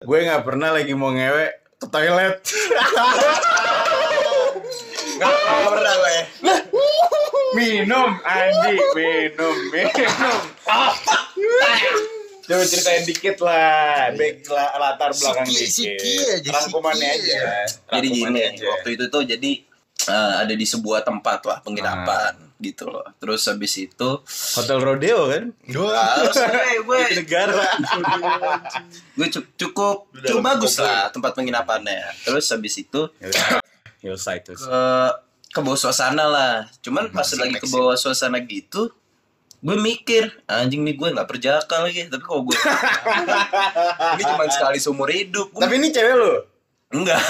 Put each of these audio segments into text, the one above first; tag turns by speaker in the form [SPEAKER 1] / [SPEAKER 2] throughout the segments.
[SPEAKER 1] gue nggak pernah lagi mau ngewe ke toilet
[SPEAKER 2] Nggak nggak pernah gue.
[SPEAKER 1] minum Andi minum minum coba ceritain dikit lah back la- latar belakang
[SPEAKER 2] Siki,
[SPEAKER 1] dikit
[SPEAKER 2] siki aja,
[SPEAKER 1] rangkumannya
[SPEAKER 2] siki
[SPEAKER 1] aja
[SPEAKER 3] Jadi
[SPEAKER 1] Rangkumannya
[SPEAKER 3] gini,
[SPEAKER 1] aja. ya.
[SPEAKER 3] waktu itu tuh jadi eh, ada di sebuah tempat lah penginapan
[SPEAKER 1] Ah.
[SPEAKER 3] gitu loh. Terus habis itu ah,
[SPEAKER 1] hotel rodeo kan
[SPEAKER 3] harus gue gue
[SPEAKER 1] Di negara
[SPEAKER 3] gue cu- cukup cukup bagus lah tempat penginapannya. Terus habis itu
[SPEAKER 1] Ya. hillside terus
[SPEAKER 3] ke ke bawah suasana lah. Cuman pas lagi ke bawah suasana gitu gue mikir anjing nih gue nggak perjaka lagi tapi kalau gue ini cuma sekali seumur hidup Gua-
[SPEAKER 1] tapi ini cewek lo
[SPEAKER 3] enggak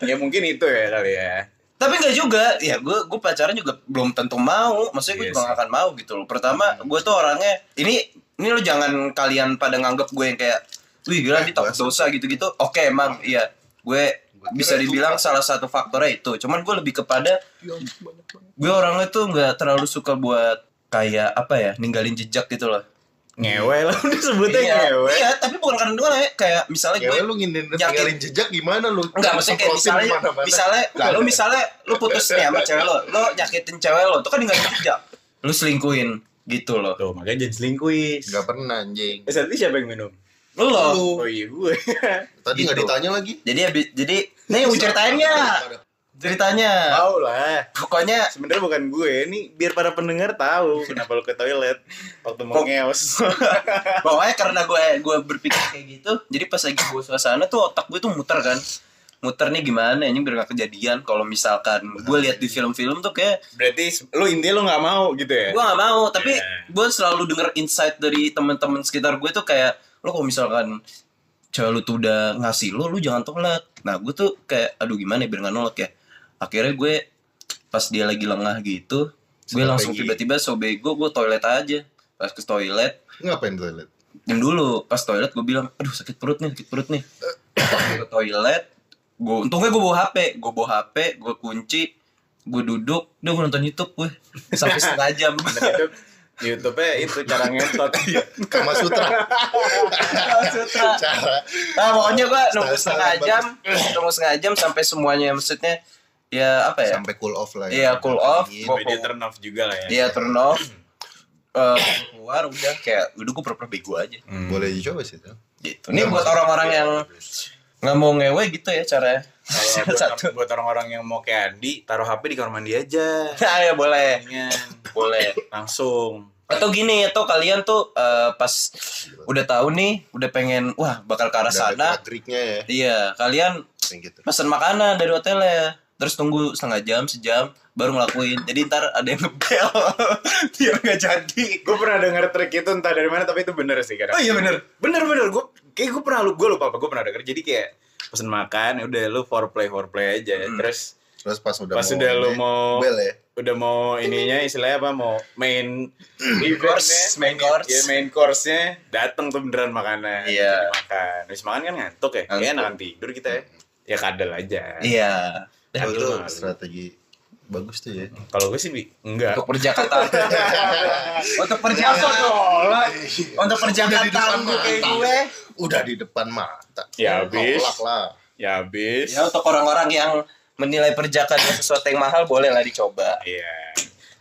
[SPEAKER 1] ya mungkin itu ya kali ya
[SPEAKER 3] tapi enggak juga ya gue gue pacaran juga belum tentu mau maksudnya gue
[SPEAKER 1] Iya
[SPEAKER 3] juga
[SPEAKER 1] sih. Hmm.
[SPEAKER 3] gak akan mau gitu loh pertama gue tuh orangnya ini ini lo jangan kalian pada nganggap gue yang kayak wih gila ini takut dosa gitu gitu oke emang iya gue bisa dibilang salah satu faktornya itu cuman gue lebih kepada gue orangnya tuh nggak terlalu suka buat kayak apa ya ninggalin jejak gitu loh
[SPEAKER 1] ngewe lah udah sebutnya
[SPEAKER 3] iya,
[SPEAKER 1] ngewe
[SPEAKER 3] iya tapi bukan karena gue kayak misalnya
[SPEAKER 2] Ya
[SPEAKER 3] gue
[SPEAKER 2] lu ngindin
[SPEAKER 3] Yakin.
[SPEAKER 2] tinggalin jejak gimana lu?
[SPEAKER 3] ya. Enggak, maksudnya kayak
[SPEAKER 2] Semprotin
[SPEAKER 3] misalnya,
[SPEAKER 2] kemana-mana.
[SPEAKER 3] misalnya, lalu misalnya lu putus nih sama cewek lo, lo nyakitin cewek lo, itu kan tinggal kerja, lu selingkuhin gitu loh.
[SPEAKER 1] tuh makanya jadi selingkuis
[SPEAKER 2] Nggak pernah anjing.
[SPEAKER 1] eh tadi siapa yang minum
[SPEAKER 3] Lo.
[SPEAKER 1] oh iya gue
[SPEAKER 2] Tadi
[SPEAKER 3] Gitu.
[SPEAKER 2] nggak ditanya lagi.
[SPEAKER 3] Jadi habis- jadi nih gue ceritain ya. Ceritanya.
[SPEAKER 1] tahu lah
[SPEAKER 3] Pokoknya
[SPEAKER 1] sebenarnya bukan gue ini biar para pendengar tahu kenapa lu ke toilet waktu mau
[SPEAKER 3] Kok-
[SPEAKER 1] ngeos
[SPEAKER 3] pokoknya karena gue gue berpikir kayak gitu, jadi pas lagi gue suasana tuh otak gue tuh muter kan. Muter nih gimana ini biar gak kejadian kalau misalkan gue lihat di film-film tuh kayak
[SPEAKER 1] berarti se- lu intinya lu nggak mau gitu ya
[SPEAKER 3] gue gak mau tapi
[SPEAKER 1] Yeah.
[SPEAKER 3] gue selalu denger insight dari teman-teman sekitar gue tuh kayak lo kalau misalkan cewek lu tuh udah ngasih lo lu jangan tolak nah gue tuh kayak aduh gimana ya biar gak nolak ya akhirnya gue pas dia lagi lengah gitu gue
[SPEAKER 1] Strategi.
[SPEAKER 3] langsung tiba-tiba sobego gue toilet aja pas ke toilet
[SPEAKER 2] Ngapain toilet?
[SPEAKER 3] diam dulu pas toilet gue bilang aduh sakit perut nih sakit perut nih Pas gua ke toilet gue untungnya gue bawa hp gue bawa hp gue kunci gue duduk udah gue nonton YouTube gue sampai setengah jam
[SPEAKER 1] YouTube Nah, YouTube-nya itu cara ngentot
[SPEAKER 3] Iya,
[SPEAKER 2] Kama Sutra.
[SPEAKER 3] Sutra.
[SPEAKER 2] Cara.
[SPEAKER 3] Nah, pokoknya gua nunggu
[SPEAKER 2] Style-style
[SPEAKER 3] setengah
[SPEAKER 2] yang
[SPEAKER 3] jam, nunggu setengah jam sampai semuanya maksudnya ya apa ya?
[SPEAKER 2] Sampai cool off lah
[SPEAKER 3] Iya, cool off.
[SPEAKER 2] Dingin.
[SPEAKER 3] Gua-
[SPEAKER 1] dia turn off juga lah ya
[SPEAKER 3] Dia turn off. Eh, keluar udah kayak udah gue pura-pura bego aja
[SPEAKER 1] Hmm.
[SPEAKER 2] Boleh dicoba sih tuh.
[SPEAKER 3] gitu.
[SPEAKER 2] Iya,
[SPEAKER 3] Ini buat orang-orang yang nggak mau ngewe gitu ya caranya.
[SPEAKER 1] Kalau buat-
[SPEAKER 3] Satu.
[SPEAKER 1] buat orang-orang yang mau kayak Andi taruh HP di kamar mandi aja
[SPEAKER 3] Nah, ya boleh,
[SPEAKER 1] Jangan.
[SPEAKER 3] boleh.
[SPEAKER 1] langsung
[SPEAKER 3] Atau gini, atau kalian tuh eh, pas udah tahu nih, udah pengen wah bakal ke arah sana.
[SPEAKER 2] Griknya ya.
[SPEAKER 3] Iya, kalian
[SPEAKER 2] Kayak gitu.
[SPEAKER 3] pesan makanan dari hotelnya terus tunggu setengah jam sejam baru ngelakuin jadi ntar ada yang ngebel dia nggak jadi
[SPEAKER 1] gue pernah denger trik itu entah dari mana tapi itu bener sih kadang
[SPEAKER 3] oh iya bener
[SPEAKER 1] bener bener gue kayak gue pernah lu gue lupa apa gue pernah denger jadi kayak pesen makan ya udah lu foreplay foreplay aja
[SPEAKER 3] Hmm.
[SPEAKER 1] terus
[SPEAKER 2] Terus pas udah
[SPEAKER 1] pas udah lu mau
[SPEAKER 3] eh.
[SPEAKER 2] bel ya.
[SPEAKER 1] udah mau ininya istilahnya apa mau main eventnya,
[SPEAKER 3] main Hmm. course.
[SPEAKER 1] ya main course-nya datang tuh beneran makanan
[SPEAKER 3] Iya.
[SPEAKER 1] Jadi makan habis makan kan ngantuk ya
[SPEAKER 3] Ngantuk.
[SPEAKER 1] kayaknya enakan tidur kita ya ya kadal aja
[SPEAKER 3] iya
[SPEAKER 1] Ya,
[SPEAKER 2] Oh,
[SPEAKER 1] lu
[SPEAKER 2] itu
[SPEAKER 1] malu.
[SPEAKER 2] strategi bagus tuh ya.
[SPEAKER 1] kalau gue sih Bi, enggak
[SPEAKER 3] untuk Iya. perjakatan untuk perjakatan untuk
[SPEAKER 2] Udah
[SPEAKER 3] perjakatan
[SPEAKER 2] di depan
[SPEAKER 3] kayak
[SPEAKER 2] mata.
[SPEAKER 3] gue
[SPEAKER 2] Udah di depan mata.
[SPEAKER 1] Ya, habis.
[SPEAKER 2] Tolak lah.
[SPEAKER 1] ya habis
[SPEAKER 3] ya untuk orang-orang yang menilai perjakannya sesuatu yang mahal boleh lah dicoba
[SPEAKER 1] Iya.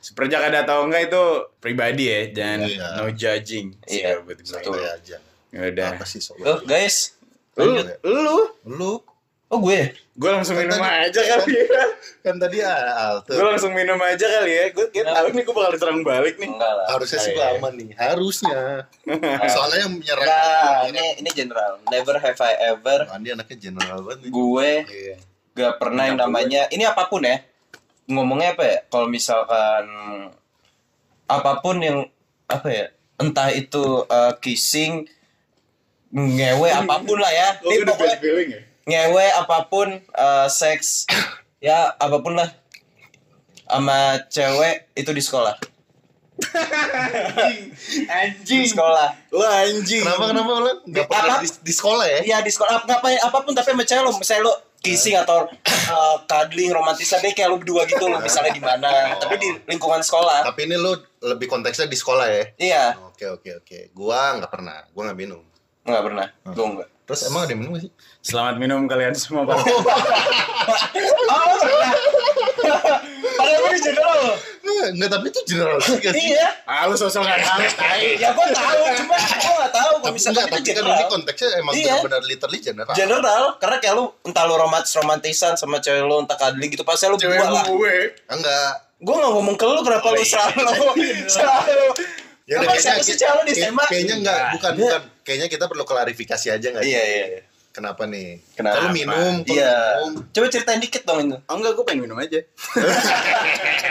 [SPEAKER 1] Seperjak ada atau enggak itu pribadi ya, jangan
[SPEAKER 2] Iya.
[SPEAKER 1] no judging.
[SPEAKER 3] Iya,
[SPEAKER 1] buat gue.
[SPEAKER 3] betul.
[SPEAKER 2] Santai aja.
[SPEAKER 1] Ya udah.
[SPEAKER 2] Apa sih ya. sobat?
[SPEAKER 3] oh guys
[SPEAKER 1] Lu, lu,
[SPEAKER 2] Lu
[SPEAKER 3] oh gue
[SPEAKER 1] gue langsung minum
[SPEAKER 2] Kan Tadi-
[SPEAKER 1] aja kali ya.
[SPEAKER 2] kan tadi al
[SPEAKER 1] Gue langsung minum aja kali ya. Gue kayak tahu nih gue bakal diserang balik nih.
[SPEAKER 3] enggak lah
[SPEAKER 2] harusnya sih
[SPEAKER 1] Iya.
[SPEAKER 2] gua aman nih harusnya soalnya yang menyerang
[SPEAKER 3] Nah, ini ini general never have I ever
[SPEAKER 2] Andi anaknya general banget nih.
[SPEAKER 3] gue
[SPEAKER 1] Iya.
[SPEAKER 3] gak pernah yang namanya ini apapun ya ngomongnya apa ya kalau misalkan apapun yang apa ya entah itu eh, kissing ngewe apapun lah ya
[SPEAKER 1] Lu
[SPEAKER 3] ini
[SPEAKER 1] udah
[SPEAKER 3] pokoknya
[SPEAKER 1] bad feeling ya?
[SPEAKER 3] ngewe apapun eh, seks ya apapun lah sama cewek itu di sekolah di
[SPEAKER 1] Anjing.
[SPEAKER 3] sekolah
[SPEAKER 1] Lu anjing.
[SPEAKER 2] kenapa kenapa ulan nggak
[SPEAKER 3] Apa?
[SPEAKER 2] pernah di, di sekolah ya
[SPEAKER 3] Iya di sekolah apa ngapain apapun tapi sama cewek lo misalnya lo kissing atau eh, cuddling romantis tapi kayak lo berdua gitu lo misalnya di mana tapi di lingkungan sekolah
[SPEAKER 2] tapi ini lu lebih konteksnya di sekolah ya
[SPEAKER 3] iya
[SPEAKER 2] oke oke oke gua nggak pernah gua nggak minum Hmm.
[SPEAKER 3] nggak pernah gue nggak
[SPEAKER 2] Terus emang ada yang minum gak sih?
[SPEAKER 1] Selamat minum kalian semua Pak.
[SPEAKER 3] Oh, pernah. Padahal gue di general loh.
[SPEAKER 2] Nggak, nggak, tapi itu general sih gak sih?
[SPEAKER 3] Iya.
[SPEAKER 1] Ah lu sosok gak tahu tai.
[SPEAKER 2] Iya.
[SPEAKER 3] Ya gue tahu, cuma gue gak tahu kalau
[SPEAKER 2] Tapi
[SPEAKER 3] misalnya
[SPEAKER 2] enggak,
[SPEAKER 3] itu
[SPEAKER 2] tapi kan ini
[SPEAKER 3] general.
[SPEAKER 2] konteksnya emang
[SPEAKER 3] Iya.
[SPEAKER 2] benar-benar literally general.
[SPEAKER 3] General, karena kayak lu entah lu romantis romantisan sama cewek lu entah kadling gitu pasti lu
[SPEAKER 1] Cewek
[SPEAKER 3] buat lah.
[SPEAKER 1] gue.
[SPEAKER 2] Enggak.
[SPEAKER 3] Gue gak ngomong ke lu kenapa lu selalu selalu.
[SPEAKER 2] Iya. Ya udah,
[SPEAKER 3] Apa siapa sih cewek lu di
[SPEAKER 2] kayak-
[SPEAKER 3] SMA?
[SPEAKER 2] Kayaknya enggak,
[SPEAKER 1] Enggak.
[SPEAKER 2] bukan, bukan. Kayaknya kita perlu klarifikasi aja enggak sih?
[SPEAKER 3] Nah. Iya iya. iya.
[SPEAKER 2] Kenapa nih?
[SPEAKER 3] Kenapa?
[SPEAKER 2] Kalau minum, kalau
[SPEAKER 3] Nah, Iya.
[SPEAKER 2] minum.
[SPEAKER 3] Coba ceritain dikit dong itu.
[SPEAKER 1] Oh enggak, gue pengen minum aja.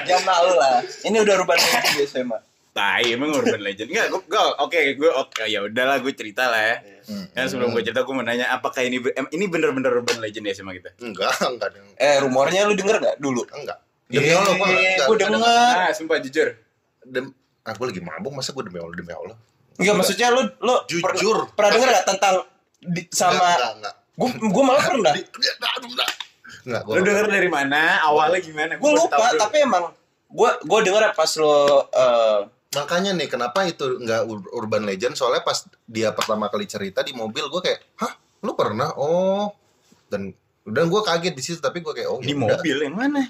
[SPEAKER 3] Jangan malu lah. Ini udah rubah di SMA.
[SPEAKER 1] Tai, emang urban legend. Enggak, gue, gue- oke, gue oke ya udahlah gue cerita lah ya. Kan sebelum gue cerita gue mau nanya apakah ini be- em- ini bener-bener urban legend ya sama kita?
[SPEAKER 2] Enggak, enggak. ada yang-
[SPEAKER 3] Eh, rumornya lu denger gak dulu?
[SPEAKER 2] Enggak.
[SPEAKER 3] Iya,
[SPEAKER 2] Demi Allah, gua enggak- enggak.
[SPEAKER 3] Gue denger.
[SPEAKER 1] Ah, sumpah jujur.
[SPEAKER 2] Dem aku lagi mabuk, masa gue demi Allah, demi Allah.
[SPEAKER 3] Enggak, maksudnya lu lu
[SPEAKER 2] Jujur.
[SPEAKER 3] pernah- pernah denger gak tentang di- sama
[SPEAKER 2] Enggak, enggak.
[SPEAKER 3] gue gue malah pernah.
[SPEAKER 2] Enggak, aduh, enggak. Enggak, gue
[SPEAKER 1] Lu denger dari mana? Awalnya gimana?
[SPEAKER 3] Gue
[SPEAKER 1] mau tahu
[SPEAKER 3] lupa,
[SPEAKER 1] dulu.
[SPEAKER 3] tapi emang gue gue denger ya pas lo eh,
[SPEAKER 2] Makanya nih kenapa itu nggak ur- urban legend soalnya pas dia pertama kali cerita di mobil gue kayak hah lu pernah oh dan dan gue kaget di situ tapi gue kayak oh
[SPEAKER 1] di
[SPEAKER 2] ya udah.
[SPEAKER 1] mobil yang mana?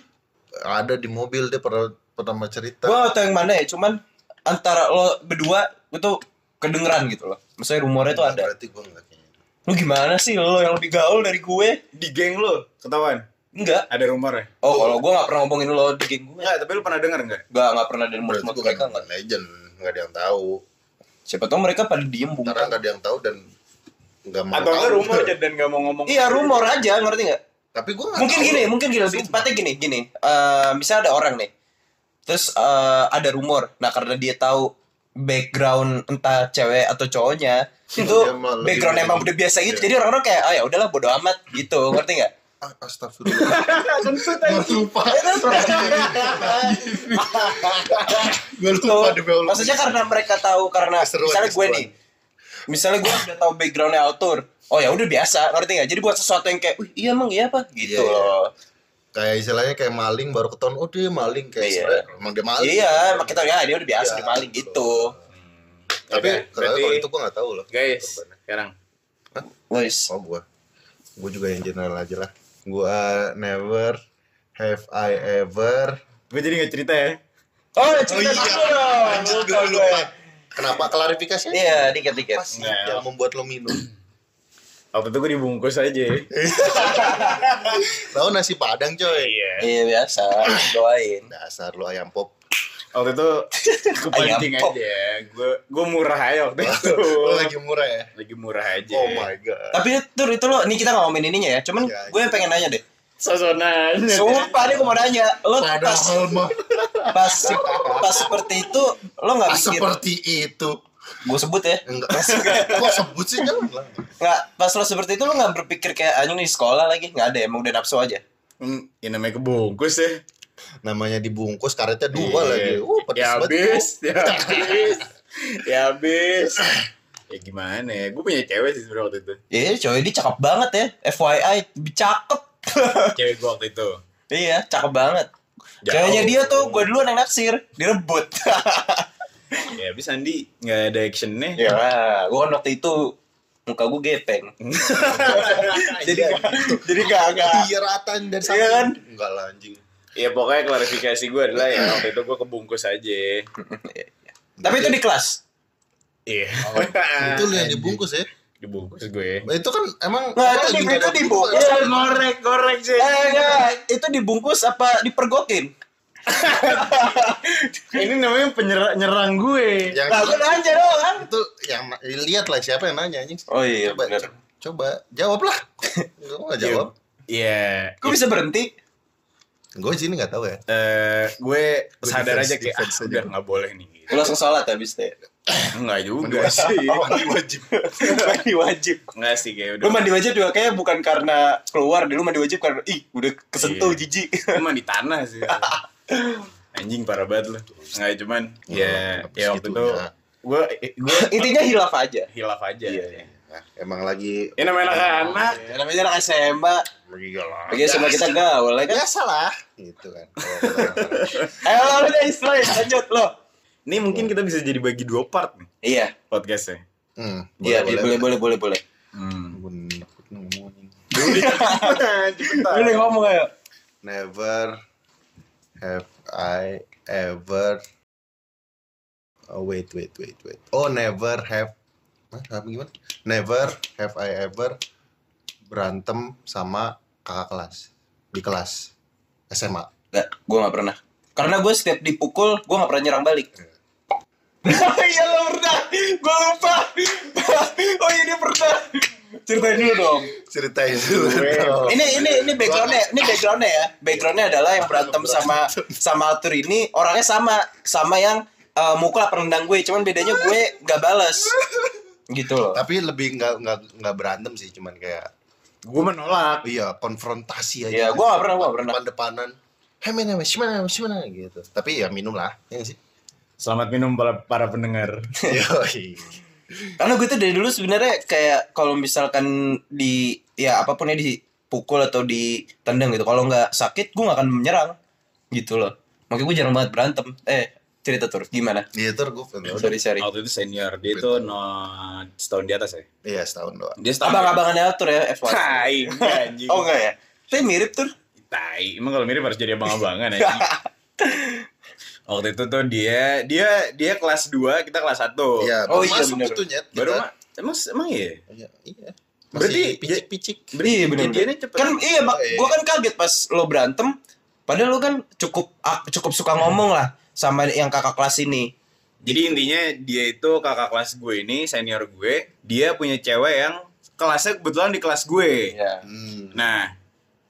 [SPEAKER 2] ada di mobil dia pernah pertama cerita
[SPEAKER 3] gue atau yang mana ya? Cuman antara lo berdua itu kedengeran gitu loh. Maksudnya rumornya itu ada.
[SPEAKER 2] berarti gue nggak kayaknya
[SPEAKER 3] Lu gimana sih lo yang lebih gaul dari gue?
[SPEAKER 1] Di geng lu, ketahuan.
[SPEAKER 3] Enggak.
[SPEAKER 1] Ada rumor ya?
[SPEAKER 3] Oh, kalau gue gak pernah ngomongin lo di geng gue.
[SPEAKER 1] Enggak, tapi lu pernah denger enggak?
[SPEAKER 3] Gak, gak pernah dari mulut
[SPEAKER 2] berarti
[SPEAKER 3] mulut
[SPEAKER 2] bukan
[SPEAKER 3] mereka.
[SPEAKER 2] urban legend nggak ada yang tahu
[SPEAKER 3] Siapa tau mereka pada diem bung.
[SPEAKER 2] karena nggak ada yang tahu dan nggak mau
[SPEAKER 1] Atau enggak
[SPEAKER 2] tahu.
[SPEAKER 1] rumor aja dan enggak mau ngomong.
[SPEAKER 3] Iya rumor aja ngerti nggak?
[SPEAKER 2] tapi gue nggak
[SPEAKER 3] Mungkin
[SPEAKER 2] tahu.
[SPEAKER 3] gini, mungkin gini lebih tepatnya gini, gini. Eh misalnya ada orang nih, terus eh, ada rumor. Nah karena dia tahu background entah cewek atau cowoknya itu
[SPEAKER 2] Iya, Dia malah lebih
[SPEAKER 3] background emang udah biasa gitu. Jadi orang-orang kayak, ah ya udahlah bodo amat gitu, ngerti nggak?
[SPEAKER 2] Ah, astagfirullah
[SPEAKER 1] Iya, Kentut
[SPEAKER 2] gue lupa
[SPEAKER 3] Ya,
[SPEAKER 2] gue lupa demi Allah
[SPEAKER 3] Maksudnya karena mereka tahu karena
[SPEAKER 2] Keseruan,
[SPEAKER 3] misalnya gue
[SPEAKER 2] keseruan.
[SPEAKER 3] nih, misalnya gue udah tahu backgroundnya autor. Oh ya udah biasa, ngerti nggak? Jadi buat sesuatu yang kayak, wih iya emang iya apa
[SPEAKER 2] Iya,
[SPEAKER 3] gitu
[SPEAKER 2] iya.
[SPEAKER 3] loh.
[SPEAKER 2] kayak istilahnya kayak maling baru ketahuan oh dia maling kayak
[SPEAKER 3] Iya.
[SPEAKER 2] sebenarnya emang dia maling
[SPEAKER 3] Iya, emang kita ya dia udah biasa
[SPEAKER 2] gitu. Iya.
[SPEAKER 3] dia maling gitu.
[SPEAKER 2] tapi
[SPEAKER 1] Oke,
[SPEAKER 3] Iya.
[SPEAKER 2] kalau
[SPEAKER 1] berarti-
[SPEAKER 2] kalau itu gua nggak tahu loh
[SPEAKER 1] Guys, nah, sekarang
[SPEAKER 3] Wes.
[SPEAKER 2] oh gua gua juga yang general aja lah gua never have I ever
[SPEAKER 1] gue jadi nggak cerita ya.
[SPEAKER 3] Oh,
[SPEAKER 2] iya.
[SPEAKER 3] ada cerita dulu dong.
[SPEAKER 2] Anjing,
[SPEAKER 3] Lupa
[SPEAKER 2] gua
[SPEAKER 3] gue.
[SPEAKER 2] lupa. kenapa klarifikasi
[SPEAKER 3] ya. Iya, dikit-dikit.
[SPEAKER 2] apa sih
[SPEAKER 1] Nggak.
[SPEAKER 2] yang membuat lo minum
[SPEAKER 1] Waktu itu gue dibungkus aja.
[SPEAKER 2] tahu nasi padang coy
[SPEAKER 1] Iya.
[SPEAKER 3] Iya biasa, doain.
[SPEAKER 2] dasar lo ayam pop
[SPEAKER 1] Waktu itu kepancing
[SPEAKER 3] Ayam pop.
[SPEAKER 1] aja. Gue gue murah aja waktu itu.
[SPEAKER 2] lo lagi murah ya
[SPEAKER 1] lagi murah aja.
[SPEAKER 3] Iya.
[SPEAKER 2] oh my god
[SPEAKER 3] Tapi itu itu lo, ini kita nggak ngomongin ininya ya. Cuman
[SPEAKER 2] Iya,
[SPEAKER 3] gue yang pengen nanya deh.
[SPEAKER 1] Sosonan.
[SPEAKER 3] Sumpah nih gue mau nanya, lo pas
[SPEAKER 2] padahal mah
[SPEAKER 3] pas pas seperti itu lo nggak mikir?
[SPEAKER 2] seperti itu
[SPEAKER 3] Gue sebut ya.
[SPEAKER 2] enggak kok sebut sih jangan lah
[SPEAKER 3] Nggak, pas lo seperti itu lo nggak berpikir kayak anjing nih di sekolah lagi nggak ada emang udah nafsu aja.
[SPEAKER 1] Hmm, ya namanya kebungkus ya.
[SPEAKER 2] namanya dibungkus karetnya dua
[SPEAKER 1] Iya.
[SPEAKER 2] lagi. Uh, pedes
[SPEAKER 1] ya
[SPEAKER 2] banget.
[SPEAKER 1] habis, ya habis. ya habis. Ya gimana ya? Gue punya cewek sih sebenernya waktu itu.
[SPEAKER 3] Iya, cowok ini cakep banget ya. FYI, cakep.
[SPEAKER 1] Cewek gue waktu itu.
[SPEAKER 3] iya, cakep banget.
[SPEAKER 1] Jauh.
[SPEAKER 3] Ceweknya dia tuh gue duluan yang naksir, direbut.
[SPEAKER 1] Ya habis Andi nggak ada actionnya.
[SPEAKER 2] Iya.
[SPEAKER 3] Ya, gue kan waktu itu muka gue gepeng. jadi gitu.
[SPEAKER 2] Iya,
[SPEAKER 3] gak, jadi gak, gak.
[SPEAKER 2] Iya rataan dari sana.
[SPEAKER 3] Iya kan?
[SPEAKER 2] Enggak lah anjing.
[SPEAKER 1] Ya pokoknya klarifikasi gue adalah ya waktu itu gue kebungkus aja.
[SPEAKER 3] Tapi itu di kelas.
[SPEAKER 1] Iya.
[SPEAKER 3] Nah,
[SPEAKER 1] ya.
[SPEAKER 2] Itu lu yang dibungkus ya.
[SPEAKER 1] dibungkus gue.
[SPEAKER 2] Nah, Itu kan emang
[SPEAKER 3] Nah, itu
[SPEAKER 2] emang
[SPEAKER 3] di-
[SPEAKER 2] lagi
[SPEAKER 3] itu
[SPEAKER 2] ada
[SPEAKER 3] dibungkus. Iya.
[SPEAKER 2] bungkus.
[SPEAKER 1] gorek gorek sih.
[SPEAKER 3] Eh, enggak, itu dibungkus apa dipergokin?
[SPEAKER 1] Ini namanya penyerang nyerang gue.
[SPEAKER 2] Yang
[SPEAKER 3] Nah, gue nanya doang.
[SPEAKER 2] itu yang lihat lah siapa yang nanya anjing.
[SPEAKER 3] Oh iya,
[SPEAKER 2] Coba
[SPEAKER 3] bener.
[SPEAKER 2] co- coba jawab lah. Gue nggak jawab.
[SPEAKER 1] Iya.
[SPEAKER 3] Gue bisa berhenti? Iya.
[SPEAKER 2] Gue sini nggak tahu ya.
[SPEAKER 1] Eh, gue
[SPEAKER 2] Gue
[SPEAKER 1] sadar
[SPEAKER 2] defense-
[SPEAKER 1] aja kayak ah,
[SPEAKER 2] defense aja.
[SPEAKER 1] udah nggak boleh nih. Gitu.
[SPEAKER 3] Gue langsung sholat habis itu ya.
[SPEAKER 1] Enggak juga sih.
[SPEAKER 2] Mandi wajib.
[SPEAKER 3] mandi wajib.
[SPEAKER 1] Enggak sih kayak udah.
[SPEAKER 3] Lu mandi wajib juga kayaknya bukan karena keluar, dulu mandi wajib karena, ih, udah kesentuh,
[SPEAKER 1] Iya.
[SPEAKER 3] jijik.
[SPEAKER 1] Cuman di tanah sih. Anjing parah banget lu. Enggak cuman
[SPEAKER 3] Iya,
[SPEAKER 1] ya
[SPEAKER 2] Nggak,
[SPEAKER 1] ya waktu itu
[SPEAKER 2] segitunya.
[SPEAKER 1] gue gue
[SPEAKER 3] Intinya hilaf aja.
[SPEAKER 1] hilaf aja.
[SPEAKER 3] Iya,
[SPEAKER 1] Ya.
[SPEAKER 2] Nah, emang lagi
[SPEAKER 1] Ini namanya anak-anak.
[SPEAKER 3] Ya, namanya anak SMA.
[SPEAKER 2] Iya lah.
[SPEAKER 3] Oke, sama kita gaul, ya kan?
[SPEAKER 2] Biasa lah. Gitu kan. Kalau kata-
[SPEAKER 3] Ayo, lo udah Islam, lanjut, lo.
[SPEAKER 1] Ini mungkin kita bisa jadi bagi dua part nih
[SPEAKER 3] Iya,
[SPEAKER 1] podcastnya.
[SPEAKER 2] Hmm,
[SPEAKER 3] iya, boleh, boleh, boleh, boleh.
[SPEAKER 1] Hmm.
[SPEAKER 2] Bun-
[SPEAKER 1] Cepetan.
[SPEAKER 3] Lu udah ngomong ya?
[SPEAKER 2] Never have I ever Oh wait wait wait wait. Oh never have Hah, apa gimana? Never have I ever berantem sama kakak kelas di kelas SMA.
[SPEAKER 3] Enggak, gue gak pernah. Karena gue setiap dipukul, gue gak pernah nyerang balik. Iya lo pernah, gue lupa. oh iya dia pernah. Ceritain dulu dong.
[SPEAKER 2] Ceritain dulu.
[SPEAKER 1] Weh.
[SPEAKER 2] dong.
[SPEAKER 3] Ini ini ini backgroundnya, ini backgroundnya ya. Backgroundnya adalah yang berantem sama sama Altur ini orangnya sama sama yang eh, mukul apa rendang gue, cuman bedanya gue gak balas. Gitu loh.
[SPEAKER 2] Tapi lebih nggak nggak nggak berantem sih, cuman kayak
[SPEAKER 1] Gue menolak.
[SPEAKER 2] iya konfrontasi aja.
[SPEAKER 3] Iya, gua nggak pernah, gua nggak pernah.
[SPEAKER 2] Depan-depanan. Hei, men, men, gimana, gimana gitu. Tapi ya minum lah, ya nggak sih? Iya,
[SPEAKER 1] Selamat minum para, para pendengar.
[SPEAKER 2] Yoi.
[SPEAKER 3] Karena gue tuh dari dulu sebenarnya kayak kalau misalkan di ya apapun ya dipukul atau ditendang gitu. Kalau nggak sakit gue nggak akan menyerang gitu loh. Makanya gue jarang banget berantem. Eh cerita tur gimana?
[SPEAKER 2] Iya, tur gue pernah.
[SPEAKER 3] Sorry sorry.
[SPEAKER 1] Waktu itu senior dia itu no, setahun di atas ya.
[SPEAKER 2] Iya, setahun doang.
[SPEAKER 1] Dia setahun.
[SPEAKER 3] Abang-abangannya tur ya F1.
[SPEAKER 1] Tai, anjing.
[SPEAKER 3] Oh enggak ya? Tapi mirip tur.
[SPEAKER 1] Tai. Emang kalau mirip harus jadi abang-abangan ya. Waktu itu tuh dia dia dia kelas 2, kita kelas 1.
[SPEAKER 2] Iya, baru
[SPEAKER 3] Oh, iya,
[SPEAKER 2] masuk
[SPEAKER 3] bener.
[SPEAKER 2] itu nyet.
[SPEAKER 1] Baru
[SPEAKER 2] kita-
[SPEAKER 1] mah emang emang iya.
[SPEAKER 2] Iya, iya.
[SPEAKER 1] Berarti-
[SPEAKER 3] ya
[SPEAKER 2] Masih picik-picik.
[SPEAKER 3] Iya, bener,
[SPEAKER 1] kejadiannya cepet.
[SPEAKER 3] Kan iya, bak,
[SPEAKER 2] Iya.
[SPEAKER 3] gue kan kaget pas lo berantem. Padahal lo kan cukup ah, cukup suka ngomong lah sama yang kakak kelas ini.
[SPEAKER 1] Jadi intinya dia itu kakak kelas gue ini, senior gue, dia punya cewek yang kelasnya kebetulan di kelas gue.
[SPEAKER 3] Iya.
[SPEAKER 2] Hmm.
[SPEAKER 1] Nah,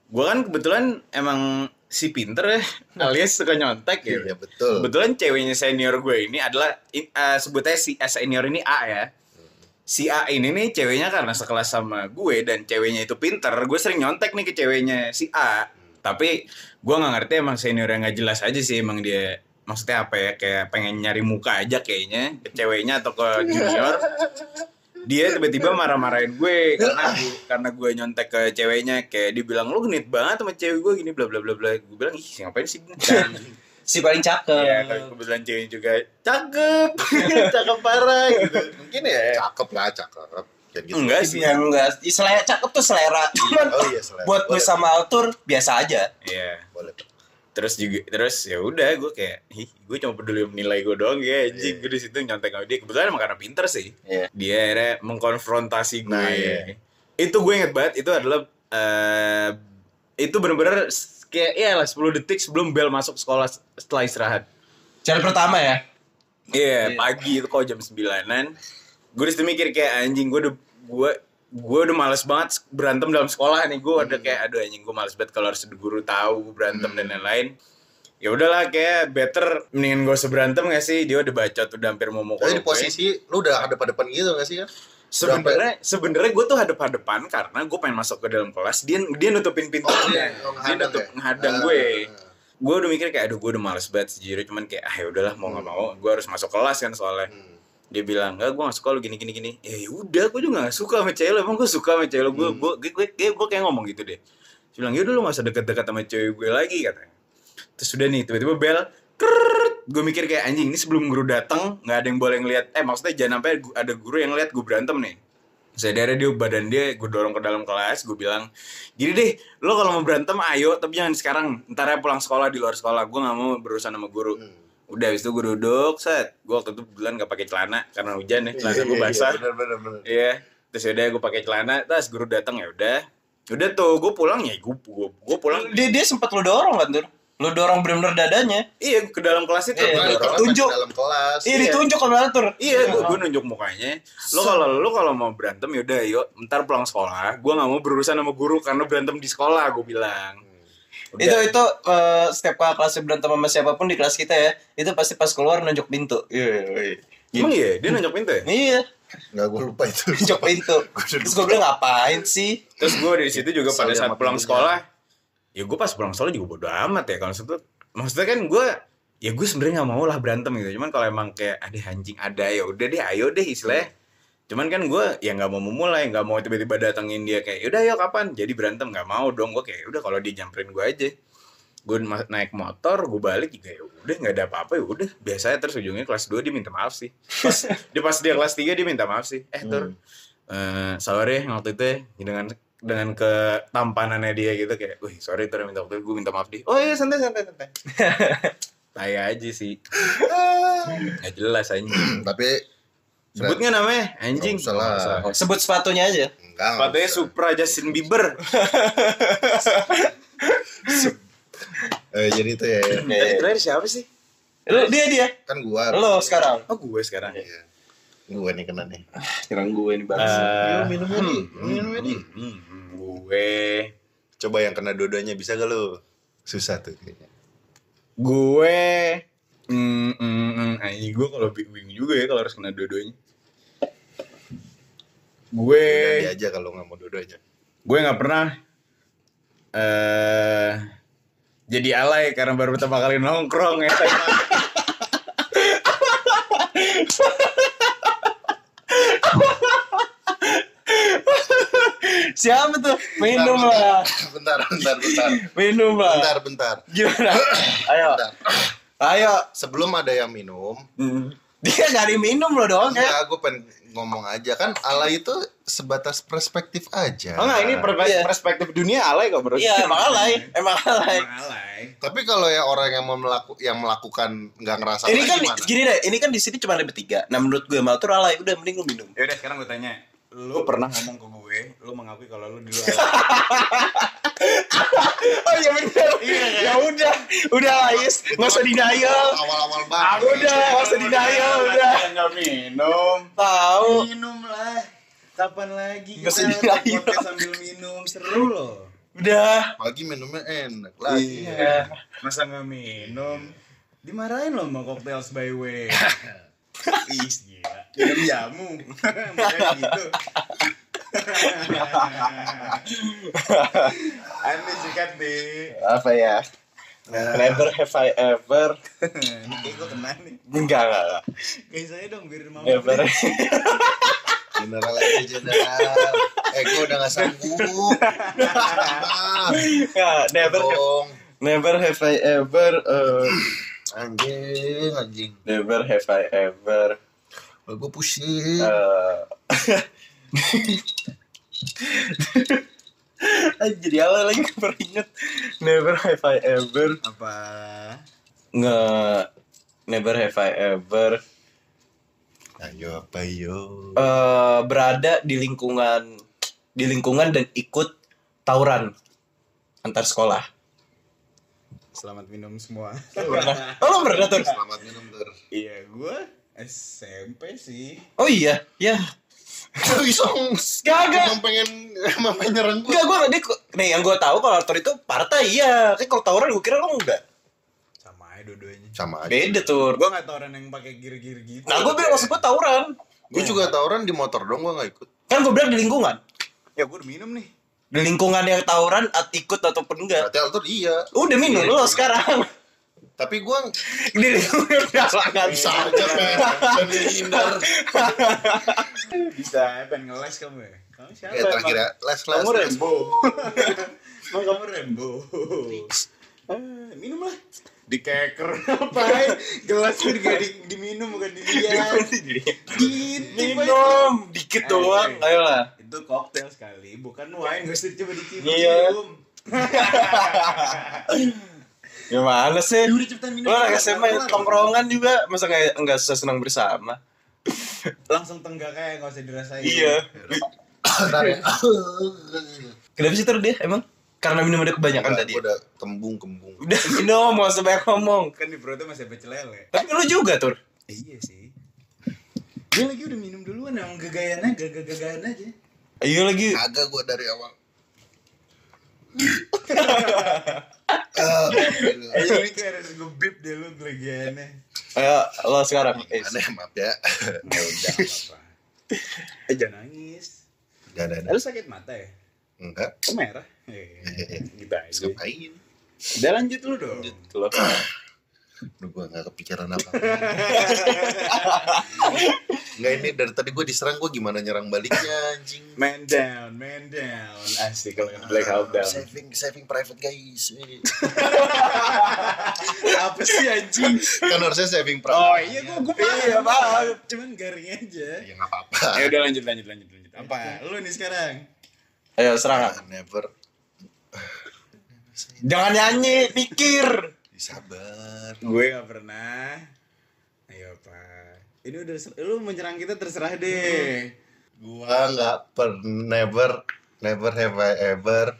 [SPEAKER 1] gue kan kebetulan emang si pinter ya, alias suka nyontek ya.
[SPEAKER 2] Iya, betul.
[SPEAKER 1] Kebetulan ceweknya senior gue ini adalah in- eh, sebutnya si eh, senior ini A ya. Si A ini nih ceweknya karena sekelas sama gue dan ceweknya itu pinter, gue sering nyontek nih ke ceweknya si A. Tapi gue nggak ngerti emang senior yang nggak jelas aja sih emang dia maksudnya apa ya kayak pengen nyari muka aja kayaknya ke ceweknya atau ke junior. Dia tiba-tiba marah-marahin gue karena gue, karena gue nyontek ke ceweknya kayak dibilang lu genit banget sama cewek gue gini bla bla bla bla. Gue bilang ih ngapain sih genit?"
[SPEAKER 3] Si paling cakep.
[SPEAKER 1] Iya, tapi kebetulan cewek juga cakep, cakep parah gitu. Mungkin ya.
[SPEAKER 2] Cakep lah, cakep. Jangan gitu.
[SPEAKER 1] Enggak sih.
[SPEAKER 3] Ya Eh. enggak, selera cakep tuh selera. Cuman
[SPEAKER 2] Oh iya, selera.
[SPEAKER 3] buat
[SPEAKER 2] Boleh,
[SPEAKER 3] gue sama Altur biasa aja.
[SPEAKER 1] Iya.
[SPEAKER 2] Boleh.
[SPEAKER 1] Terus juga terus ya udah gue kayak Ih, gue cuma peduli sama nilai gue doang ya anjing
[SPEAKER 2] Iya.
[SPEAKER 1] gue di situ nyontek sama dia kebetulan emang karena pinter sih
[SPEAKER 3] Iya.
[SPEAKER 1] dia akhirnya mengkonfrontasi gue
[SPEAKER 2] Nah, iya.
[SPEAKER 1] itu gue inget banget itu adalah eh itu bener-bener s- kayak ya lah 10 detik sebelum bel masuk sekolah setelah istirahat
[SPEAKER 3] Cara pertama ya.
[SPEAKER 1] Iya,
[SPEAKER 3] Iya.
[SPEAKER 1] pagi itu kok jam sembilanan. Gue disitu mikir kayak anjing gue udah gue gue udah males banget berantem dalam sekolah nih. Gue
[SPEAKER 2] Hmm.
[SPEAKER 1] udah kayak aduh anjing gue males banget kalau harus guru tahu gue berantem dan lain-lain. Ya udahlah kayak better mendingan gue seberantem gak sih? Dia udah bacot udah hampir mau mukul.
[SPEAKER 2] Tapi di
[SPEAKER 1] gue.
[SPEAKER 3] Oh,
[SPEAKER 2] posisi lu udah ada pada depan gitu gak sih kan?
[SPEAKER 1] sebenarnya sebenarnya gue tuh hadap-hadapan karena gue pengen masuk ke dalam kelas. Dia dia nutupin pintu.
[SPEAKER 2] dia menghadang
[SPEAKER 1] nutup
[SPEAKER 2] ya?
[SPEAKER 1] menghadang
[SPEAKER 2] Ah,
[SPEAKER 1] gue.
[SPEAKER 2] ah, ah.
[SPEAKER 1] Gue udah mikir kayak aduh gue udah males banget sejujurnya cuman kayak ah ya udahlah mau nggak mau gue harus masuk kelas kan soalnya.
[SPEAKER 2] Hmm.
[SPEAKER 1] dia bilang enggak gue gak suka lu gini gini gini ya udah gue juga gak suka sama cewek lu emang gue suka sama cewek lu gue
[SPEAKER 2] Hmm.
[SPEAKER 1] gue gue gue- gue- gue kayak ngomong gitu deh dia bilang yaudah lu gak usah deket-deket sama cewek gue lagi katanya terus udah nih tiba-tiba bel gue mikir kayak anjing ini sebelum guru datang nggak ada yang boleh ngeliat eh maksudnya jangan sampai gu- ada guru yang ngeliat gue berantem nih saya daerah dia badan dia gue dorong ke dalam kelas gue bilang gini deh lo kalau mau berantem ayo tapi jangan sekarang ntar ya pulang sekolah di luar sekolah gue nggak mau berurusan sama guru
[SPEAKER 2] Hmm.
[SPEAKER 1] udah habis itu gue duduk set gue waktu itu bulan gak pakai celana karena hujan ya
[SPEAKER 3] Nah,
[SPEAKER 1] celana gue
[SPEAKER 2] Iya,
[SPEAKER 1] basah
[SPEAKER 2] Bener, bener, bener.
[SPEAKER 1] Iya. Terus udah gue pakai celana, terus guru datang ya udah. Udah tuh gue pulang ya gue gue, gue pulang.
[SPEAKER 3] Dia dia sempat lo dorong kan Tur. Lo dorong benar-benar dadanya.
[SPEAKER 1] Iya ke dalam kelas itu. gua
[SPEAKER 3] Iya,
[SPEAKER 2] Nah,
[SPEAKER 1] dorong.
[SPEAKER 2] ditaruh
[SPEAKER 3] Tunjuk.
[SPEAKER 2] di dalam kelas.
[SPEAKER 3] Iya ditunjuk sama Altur.
[SPEAKER 1] Iya, gue gue nunjuk mukanya. Lo kalau lo kalau mau berantem ya udah yuk, ntar pulang sekolah. Gue nggak mau berurusan sama guru karena berantem di sekolah. Gue bilang. Udah.
[SPEAKER 3] Itu itu eh, setiap kakak kelas berantem sama siapapun di kelas kita ya, itu pasti pas keluar nunjuk pintu. Iya, iya. iya.
[SPEAKER 1] Emang iya, dia nunjuk pintu ya?
[SPEAKER 3] Iya,
[SPEAKER 2] Enggak, gue lupa itu.
[SPEAKER 3] nunjuk pintu. Terus gue bilang ngapain sih?
[SPEAKER 1] Terus gue dari situ juga pada
[SPEAKER 2] Soalnya
[SPEAKER 1] saat
[SPEAKER 2] sama
[SPEAKER 1] pulang
[SPEAKER 2] pintunya.
[SPEAKER 1] sekolah, ya gue pas pulang sekolah juga bodo amat ya kalau maksudnya, maksudnya kan gue ya gue sebenarnya nggak mau lah berantem gitu, cuman kalau emang kayak ada anjing ada ya udah deh, ayo deh istilahnya. Cuman kan gue ya nggak mau memulai, nggak mau tiba-tiba datengin dia kayak, yaudah ayo kapan? Jadi berantem nggak mau dong gue kayak, udah kalau dia nyamperin gue aja, gue ma- naik motor, gue balik juga ya udah nggak ada apa-apa ya udah. Biasanya terus ujungnya kelas 2 dia minta maaf sih. Pas,
[SPEAKER 2] Hmm.
[SPEAKER 1] dia pas dia kelas 3 dia minta maaf sih. Eh tur, eh sorry ya, waktu itu ya, dengan dengan ketampanannya dia gitu kayak, wih sorry tadi minta waktu gue minta maaf deh. Oh iya santai santai santai. Tai aja sih, nggak jelas anjing.
[SPEAKER 2] Hmm, Tapi
[SPEAKER 1] Sebut nggak namanya anjing?
[SPEAKER 2] Nggak usah lah.
[SPEAKER 1] Nggak usah.
[SPEAKER 3] Sebut sepatunya aja.
[SPEAKER 2] enggak. nggak
[SPEAKER 1] Sepatunya
[SPEAKER 2] usah.
[SPEAKER 1] Supra Justin Bieber.
[SPEAKER 2] Eh, jadi itu ya,
[SPEAKER 3] Iya,
[SPEAKER 2] ya.
[SPEAKER 1] Tadi terakhir siapa sih?
[SPEAKER 3] Lu dia dia.
[SPEAKER 2] kan gua.
[SPEAKER 3] Lo sekarang.
[SPEAKER 1] Oh gue sekarang.
[SPEAKER 2] Iya. Gua nih kena nih. Hmm,
[SPEAKER 3] Sekarang gue nih
[SPEAKER 1] Eh,
[SPEAKER 2] minumnya nih. Minumnya nih.
[SPEAKER 1] hmm, hmm, gue
[SPEAKER 2] Coba yang kena dua-duanya bisa gak lo? Susah tuh kayaknya.
[SPEAKER 1] gue hmm, hmm, hmm. anjing gue kalau bing- bingung juga ya kalau harus kena dua-duanya gue
[SPEAKER 2] Udah
[SPEAKER 3] Iya,
[SPEAKER 2] dia aja kalau nggak mau dua-duanya.
[SPEAKER 1] gue nggak pernah eh jadi alay karena baru pertama kali nongkrong ya
[SPEAKER 3] Siapa tuh? Minum lah.
[SPEAKER 2] Bentar, bentar, bentar.
[SPEAKER 3] Minum
[SPEAKER 2] Bentar,
[SPEAKER 3] lah.
[SPEAKER 2] bentar.
[SPEAKER 3] Gimana? Ayo.
[SPEAKER 2] bentar.
[SPEAKER 3] Ayo.
[SPEAKER 2] Sebelum ada yang minum,
[SPEAKER 1] Hmm.
[SPEAKER 3] Dia nyari minum lo dong
[SPEAKER 2] enggak,
[SPEAKER 3] ya.
[SPEAKER 2] gue pengen ngomong aja kan ala itu sebatas perspektif aja.
[SPEAKER 1] oh nggak ini perspektif,
[SPEAKER 3] Iya.
[SPEAKER 1] perspektif dunia alay kok bro
[SPEAKER 3] Iya, emang alay. Emang alay.
[SPEAKER 1] Emang alay
[SPEAKER 2] Tapi kalau ya orang yang mau melaku, yang melakukan nggak ngerasa
[SPEAKER 3] Ini kan
[SPEAKER 2] gimana?
[SPEAKER 3] gini deh, ini kan di sini cuma ada bertiga. Nah, menurut gue mal tuh alay, udah mending lu minum.
[SPEAKER 1] ya udah sekarang gue tanya lu pernah ngomong ke gue lu mengakui kalau lu dulu alay
[SPEAKER 3] Oh iya bener. ya udah, udah Ais, nggak usah denial.
[SPEAKER 2] Awal-awal
[SPEAKER 1] Ah,
[SPEAKER 2] banget.
[SPEAKER 3] Udah, nggak usah denial, udah.
[SPEAKER 1] Nggak minum.
[SPEAKER 3] Tahu.
[SPEAKER 1] Minum lah. Kapan lagi
[SPEAKER 3] Nggak usah
[SPEAKER 1] kita
[SPEAKER 3] denial.
[SPEAKER 1] podcast sambil minum seru loh.
[SPEAKER 3] Udah.
[SPEAKER 2] Pagi minumnya enak lagi.
[SPEAKER 1] Iya. Masa nggak minum? Dimarahin loh sama cocktails by way. Ih, gila. Minum jamu. Makanya gitu. Aneh sikat deh.
[SPEAKER 3] Apa ya? Never have I ever
[SPEAKER 1] Ini kayak gue kena nih.
[SPEAKER 3] Enggak, enggak, enggak.
[SPEAKER 1] Kayak saya dong biarin mama.
[SPEAKER 3] Ever
[SPEAKER 2] General aja general. Eh gue udah nggak sanggup. Ah,
[SPEAKER 3] Enggak, Never have-
[SPEAKER 2] Dong.
[SPEAKER 3] Never have I ever uh,
[SPEAKER 2] Anjing, anjing.
[SPEAKER 3] Never have I ever
[SPEAKER 2] Gue pusing.
[SPEAKER 3] uh, Ah, Jadi ala lagi keperingat Never have I ever
[SPEAKER 1] Apa?
[SPEAKER 3] nge never have I ever
[SPEAKER 2] Ayo apa yo?
[SPEAKER 3] eh, berada di lingkungan di lingkungan dan ikut tawuran antar sekolah.
[SPEAKER 1] Selamat minum semua.
[SPEAKER 3] Pernah? Oh, lo pernah Tur?
[SPEAKER 2] Selamat minum tur.
[SPEAKER 1] Iya, gue SMP sih.
[SPEAKER 3] Oh iya, ya.
[SPEAKER 2] Isong.
[SPEAKER 3] Kagak.
[SPEAKER 2] Emang pengen emang pengen nyerang gue.
[SPEAKER 3] Enggak, gue dia nih yang gue tahu kalau Arthur itu partai iya. Kayak kalau tawuran gue kira lo enggak.
[SPEAKER 1] Sama aja dua-duanya.
[SPEAKER 2] Sama aja.
[SPEAKER 3] Beda Tur.
[SPEAKER 1] Gue gak tau orang yang pakai gear-gear gitu.
[SPEAKER 3] Nah, gue bilang maksud gue tawuran.
[SPEAKER 2] Gue juga tawuran di motor dong, gue gak ikut.
[SPEAKER 3] Kan gue bilang di lingkungan.
[SPEAKER 1] Ya gue udah minum nih.
[SPEAKER 3] Di lingkungan yang tawuran at ikut ataupun enggak.
[SPEAKER 2] Berarti Altur iya.
[SPEAKER 3] Udah minum lo sekarang.
[SPEAKER 2] Tapi gue
[SPEAKER 3] Di lingkungan udah sangat
[SPEAKER 2] bisa aja pengen pengen hindar.
[SPEAKER 1] Bisa, pengen ngeles kamu ya. Kamu siapa?
[SPEAKER 2] Ya terakhir ya, les les.
[SPEAKER 1] Kamu Rembo. Emang kamu Rembo. Ah, minum lah. Dikeker ngapain? Gelas itu juga di- diminum bukan dilihat. Gitu,
[SPEAKER 3] Minum dikit doang. Ayolah.
[SPEAKER 1] Pak. Itu koktail sekali, bukan wine. Gue sih coba dicium.
[SPEAKER 3] Iya. Gimana sih?
[SPEAKER 1] Ya udah cepetan minum.
[SPEAKER 3] Lo anak SMA tongkrongan juga masa nggak nggak susah senang bersama?
[SPEAKER 1] Langsung tenggak kayak gak usah dirasain.
[SPEAKER 3] Iya.
[SPEAKER 2] Bentar ya.
[SPEAKER 3] Kenapa sih terus dia emang? Karena minum udah kebanyakan tadi.
[SPEAKER 2] Gue udah kembung kembung.
[SPEAKER 3] Udah minum, nggak usah banyak ngomong.
[SPEAKER 1] Kan di perutnya masih ada celele.
[SPEAKER 3] Tapi lu juga tur.
[SPEAKER 1] Iya sih. Dia lagi udah minum duluan emang gegayannya gagah-gagahan aja.
[SPEAKER 3] Ayo Iya lagi.
[SPEAKER 2] Agak gue dari awal.
[SPEAKER 1] Ayo Iya, ini kayak harus gue bip deh lu gegayannya.
[SPEAKER 3] Ayo lo sekarang. Eh,
[SPEAKER 2] Aneh maaf ya.
[SPEAKER 1] Ya udah apa-apa. Eh jangan nangis.
[SPEAKER 2] Gak ada.
[SPEAKER 1] Eh, Lu sakit mata ya?
[SPEAKER 2] Enggak.
[SPEAKER 1] Kok merah? Eh, Gitu aja.
[SPEAKER 2] Ngapain?
[SPEAKER 1] Udah lanjut lu dong.
[SPEAKER 3] lo.
[SPEAKER 2] Aduh, gue gak kepikiran apa. Enggak ini dari tadi gue diserang gue gimana nyerang baliknya anjing.
[SPEAKER 1] Man down, man down. Asik kalau yang black out down.
[SPEAKER 2] Saving saving private guys.
[SPEAKER 1] Apa sih anjing?
[SPEAKER 2] kan harusnya saving private.
[SPEAKER 1] Oh iya gua gua paham.
[SPEAKER 3] Iya, paham.
[SPEAKER 1] Cuman garing aja.
[SPEAKER 2] Ya nggak apa-apa.
[SPEAKER 1] Iya. Ya udah lanjut lanjut lanjut lanjut. Apa? Lu nih sekarang.
[SPEAKER 3] Ayo serang.
[SPEAKER 2] I never
[SPEAKER 3] Jangan nyanyi, pikir.
[SPEAKER 2] disabar.
[SPEAKER 1] Gue nggak pernah. Ayo pak. Ini udah ser- lu menyerang kita terserah deh.
[SPEAKER 2] Gua nggak per never never have I ever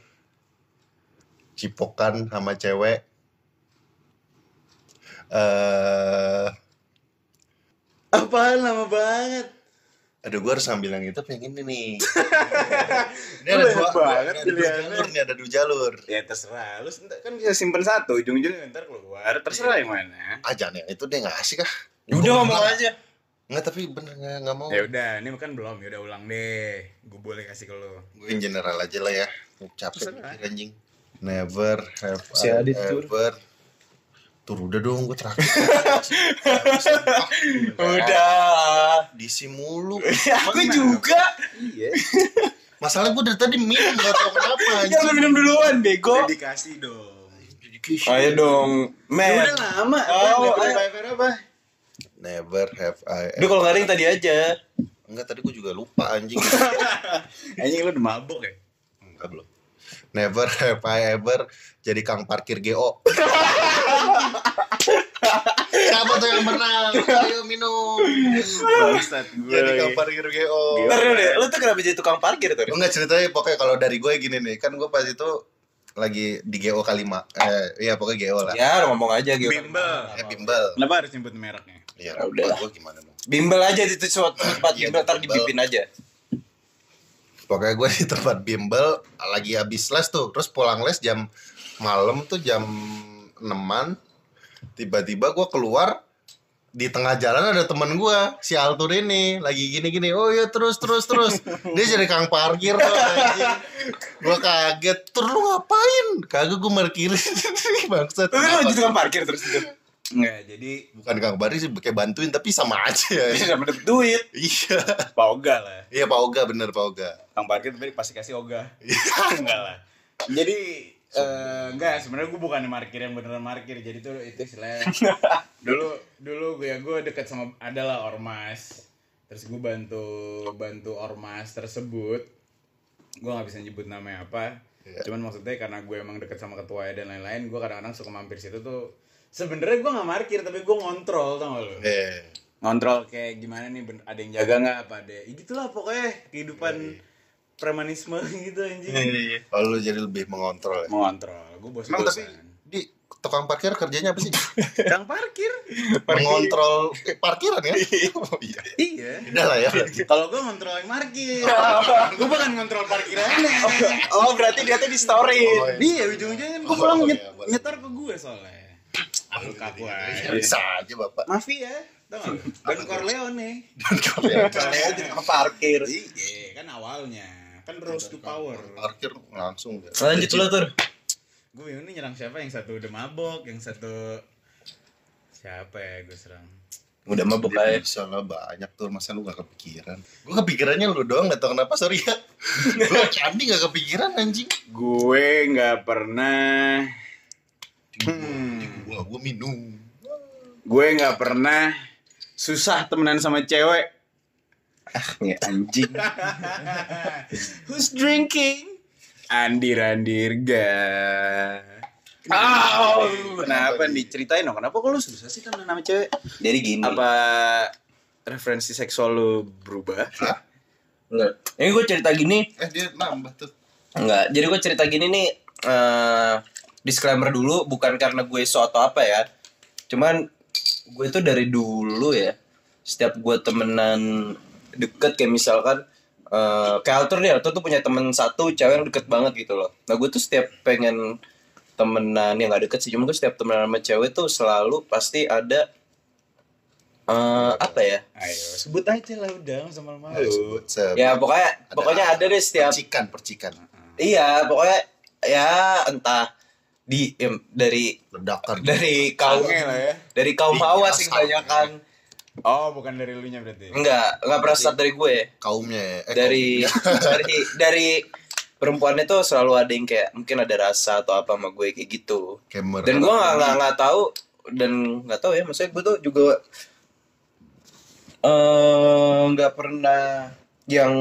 [SPEAKER 2] cipokan sama cewek. Eh,
[SPEAKER 1] Apaan lama banget.
[SPEAKER 2] aduh gua harus ambil yang itu pengen ini nih. ini
[SPEAKER 1] Lu
[SPEAKER 2] ada
[SPEAKER 1] banyak
[SPEAKER 2] dua,
[SPEAKER 1] banget
[SPEAKER 2] ada dua
[SPEAKER 1] pilihannya.
[SPEAKER 2] jalur nih, ada dua jalur.
[SPEAKER 1] Ya terserah. Lu sent- kan bisa simpen satu. Ujung-ujungnya ntar keluar. Terserah yang mana.
[SPEAKER 2] Ah jangan yang itu deh nggak asik ah.
[SPEAKER 3] Udah ngomong aja.
[SPEAKER 2] Nggak tapi bener nggak nggak mau.
[SPEAKER 1] Ya udah, ini kan belum. Ya udah ulang deh. Gue boleh kasih ke lu.
[SPEAKER 2] Gue in general aja lah ya. Capek
[SPEAKER 1] Terserah.
[SPEAKER 2] mikir, anjing. Never have
[SPEAKER 3] Si
[SPEAKER 2] I
[SPEAKER 3] Adit tur.
[SPEAKER 2] ever. Tur udah dong gue terakhir.
[SPEAKER 3] Udah.
[SPEAKER 2] Disi mulu.
[SPEAKER 3] Aku juga.
[SPEAKER 1] Iya.
[SPEAKER 2] Masalah gue dari tadi minum gak tau kenapa
[SPEAKER 3] Ya lu minum duluan, bego.
[SPEAKER 1] Dedikasi dong.
[SPEAKER 3] Ayo dong, men.
[SPEAKER 1] Udah lama.
[SPEAKER 3] Oh,
[SPEAKER 1] Oh,
[SPEAKER 3] ayo.
[SPEAKER 1] apa?
[SPEAKER 2] Never have I
[SPEAKER 3] Duh kalau nggak ada yang tadi aja.
[SPEAKER 2] Enggak tadi gue juga lupa anjing
[SPEAKER 1] Anjing lu udah mabok ya?
[SPEAKER 2] Enggak belum Never have I ever jadi kang parkir GO Siapa tuh yang menang? Ayo minum
[SPEAKER 1] Bangsat gue
[SPEAKER 2] Jadi
[SPEAKER 1] lagi.
[SPEAKER 2] kang parkir GO
[SPEAKER 3] Ntar dulu deh, lu tuh kenapa jadi tukang parkir tuh?
[SPEAKER 2] Enggak ceritanya pokoknya kalau dari gue gini nih Kan gue pas itu lagi di GO Kalima eh, Iya pokoknya GO lah
[SPEAKER 3] Ya lu ngomong aja gitu.
[SPEAKER 1] Bimbel.
[SPEAKER 2] Ya bimbel
[SPEAKER 1] Kenapa harus nyebut mereknya?
[SPEAKER 2] Ya
[SPEAKER 3] Ya udah lah.
[SPEAKER 2] gue gimana dong
[SPEAKER 3] Bimbel aja di tempat tempat
[SPEAKER 2] Iya,
[SPEAKER 3] bimbel ntar
[SPEAKER 2] bimbel.
[SPEAKER 3] dibipin aja.
[SPEAKER 2] Pokoknya gue di tempat bimbel lagi habis les tuh, terus pulang les jam malam tuh jam enaman. Tiba-tiba gue keluar di tengah jalan ada temen gue si Altur ini lagi gini-gini oh iya terus terus terus dia jadi kang parkir tuh gue kaget terus lu ngapain kagak gue markirin bangsat
[SPEAKER 3] Lu kan jadi tukang parkir terus itu.
[SPEAKER 1] Enggak, jadi
[SPEAKER 2] bukan kang parkir sih kayak bantuin tapi sama aja
[SPEAKER 3] Bisa dapet duit.
[SPEAKER 2] iya
[SPEAKER 1] Pak Oga lah.
[SPEAKER 2] iya Pak Oga bener Pak Oga
[SPEAKER 1] Kang Parkir tapi pasti kasih Oga. enggak lah. Jadi eh, enggak sebenarnya gue bukan markir yang beneran markir jadi tuh itu istilahnya dulu dulu gue ya gue deket sama adalah ormas terus gue bantu bantu ormas tersebut gue nggak bisa nyebut namanya apa cuman maksudnya karena gue emang deket sama ketua dan lain-lain gue kadang-kadang suka mampir situ tuh sebenarnya gue nggak markir tapi gue ngontrol tau gak lu
[SPEAKER 2] eh
[SPEAKER 1] ngontrol kayak gimana nih ben- ada yang jaga nggak apa ada ya, gitulah pokoknya kehidupan iya. premanisme gitu anjing
[SPEAKER 2] oh, lu jadi lebih mengontrol ya
[SPEAKER 1] mau ngontrol gue bos
[SPEAKER 2] Emang tapi
[SPEAKER 1] bosan
[SPEAKER 2] di tukang parkir kerjanya apa sih?
[SPEAKER 1] kang parkir
[SPEAKER 2] Mengontrol eh, parkiran ya? oh, iya.
[SPEAKER 1] iya
[SPEAKER 2] Udah lah ya. berarti.
[SPEAKER 1] kalau gue ngontrol yang parkir gue bukan ngontrol parkirannya
[SPEAKER 3] Oh berarti dia tuh di story.
[SPEAKER 2] Oh, iya.
[SPEAKER 1] iya ujung-ujungnya kan gue
[SPEAKER 2] Oh,
[SPEAKER 1] pulang
[SPEAKER 2] iya,
[SPEAKER 1] nyet-
[SPEAKER 2] boleh.
[SPEAKER 1] nyetor ke gue soalnya aku kaku
[SPEAKER 2] Ya,
[SPEAKER 1] aja
[SPEAKER 2] Bisa aja bapak.
[SPEAKER 1] mafia tau gak lu? Don Corleone
[SPEAKER 3] Kalian jadi tukang parkir.
[SPEAKER 1] iya kan awalnya kan rose to power
[SPEAKER 2] Parkir langsung. ya.
[SPEAKER 3] Lanjut lu tuh.
[SPEAKER 1] gue bingung nih nyerang siapa yang satu udah mabok yang satu siapa ya gue serang
[SPEAKER 3] Udah mabuk
[SPEAKER 2] Dia
[SPEAKER 3] aja.
[SPEAKER 2] Bisa lah banyak tuh masa lu gak kepikiran. Gue kepikirannya lu doang gak tau kenapa sorry ya. Gue Andi gak kepikiran anjing.
[SPEAKER 1] gue nggak pernah hmm,
[SPEAKER 2] Wah gue minum.
[SPEAKER 1] gue nggak pernah susah temenan sama cewek
[SPEAKER 3] Ya anjing.
[SPEAKER 1] who's drinking andir andir ga Ah, kenapa nih ceritain dong kenapa kok lu susah sih temenan sama cewek
[SPEAKER 3] Jadi gini.
[SPEAKER 1] apa referensi seksual lu berubah
[SPEAKER 3] Nggak. Ini gue cerita gini.
[SPEAKER 2] Eh dia nambah tuh.
[SPEAKER 3] Enggak. Jadi gue cerita gini nih. eh disclaimer dulu. Bukan karena gue so atau apa ya. Cuman gue tuh dari dulu ya. Setiap gue temenan deket kayak misalkan. eh kayak Altur nih. Altur tuh punya temen satu cewek yang deket banget gitu loh. Nah gue tuh setiap pengen temenan yang gak deket sih. Cuman gue setiap temenan sama cewek tuh selalu pasti ada. eh apa ya?
[SPEAKER 1] ayo sebut aja lah udah sama malu
[SPEAKER 2] Ayo, sebut, sebut.
[SPEAKER 3] Ya pokoknya pokoknya ada deh setiap
[SPEAKER 2] Percikan, percikan.
[SPEAKER 3] Iya, pokoknya ya entah di em, dari
[SPEAKER 2] Ledakan.
[SPEAKER 3] dari kaum
[SPEAKER 1] Sange lah ya.
[SPEAKER 3] dari kaum
[SPEAKER 2] Iya,
[SPEAKER 3] hawa
[SPEAKER 2] sange.
[SPEAKER 3] sih kebanyakan.
[SPEAKER 1] oh bukan dari lu nya berarti
[SPEAKER 3] Enggak, enggak pernah start dari gue.
[SPEAKER 2] Kaumnya ya. Eh,
[SPEAKER 3] Dari dari dari perempuannya tuh selalu ada yang kayak mungkin ada rasa atau apa sama gue kayak gitu.
[SPEAKER 2] kaum- kamer.
[SPEAKER 3] Dan gue nggak nggak nggak tahu dan nggak tahu ya maksudnya gue tuh juga eh nggak pernah yang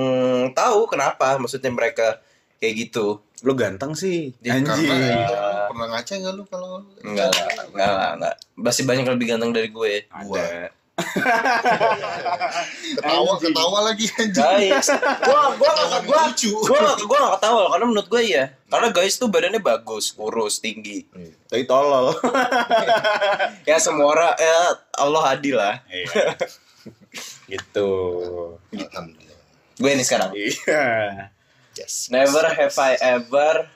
[SPEAKER 3] tahu kenapa maksudnya mereka kayak gitu
[SPEAKER 1] Lu ganteng sih.
[SPEAKER 3] Ya,
[SPEAKER 1] Anjing.
[SPEAKER 2] Karena
[SPEAKER 3] Iya.
[SPEAKER 2] itu pernah ngaca nggak lu kalau
[SPEAKER 3] enggak lah enggak lah enggak masih banyak yang lebih ganteng dari gue
[SPEAKER 1] Ada.
[SPEAKER 2] ketawa
[SPEAKER 1] Anjing.
[SPEAKER 2] ketawa lagi anjing.
[SPEAKER 3] guys gue gue
[SPEAKER 2] Ketawa
[SPEAKER 3] gue
[SPEAKER 2] lucu.
[SPEAKER 3] gue gue gak ketawa loh, karena menurut gue ya karena guys tuh badannya bagus kurus tinggi
[SPEAKER 1] Tapi tolol.
[SPEAKER 3] ya semua orang ya Allah adil lah
[SPEAKER 1] Iya. gitu.
[SPEAKER 2] Alhamdulillah.
[SPEAKER 3] gue ini sekarang
[SPEAKER 1] Iya.
[SPEAKER 2] Yes.
[SPEAKER 3] never have I ever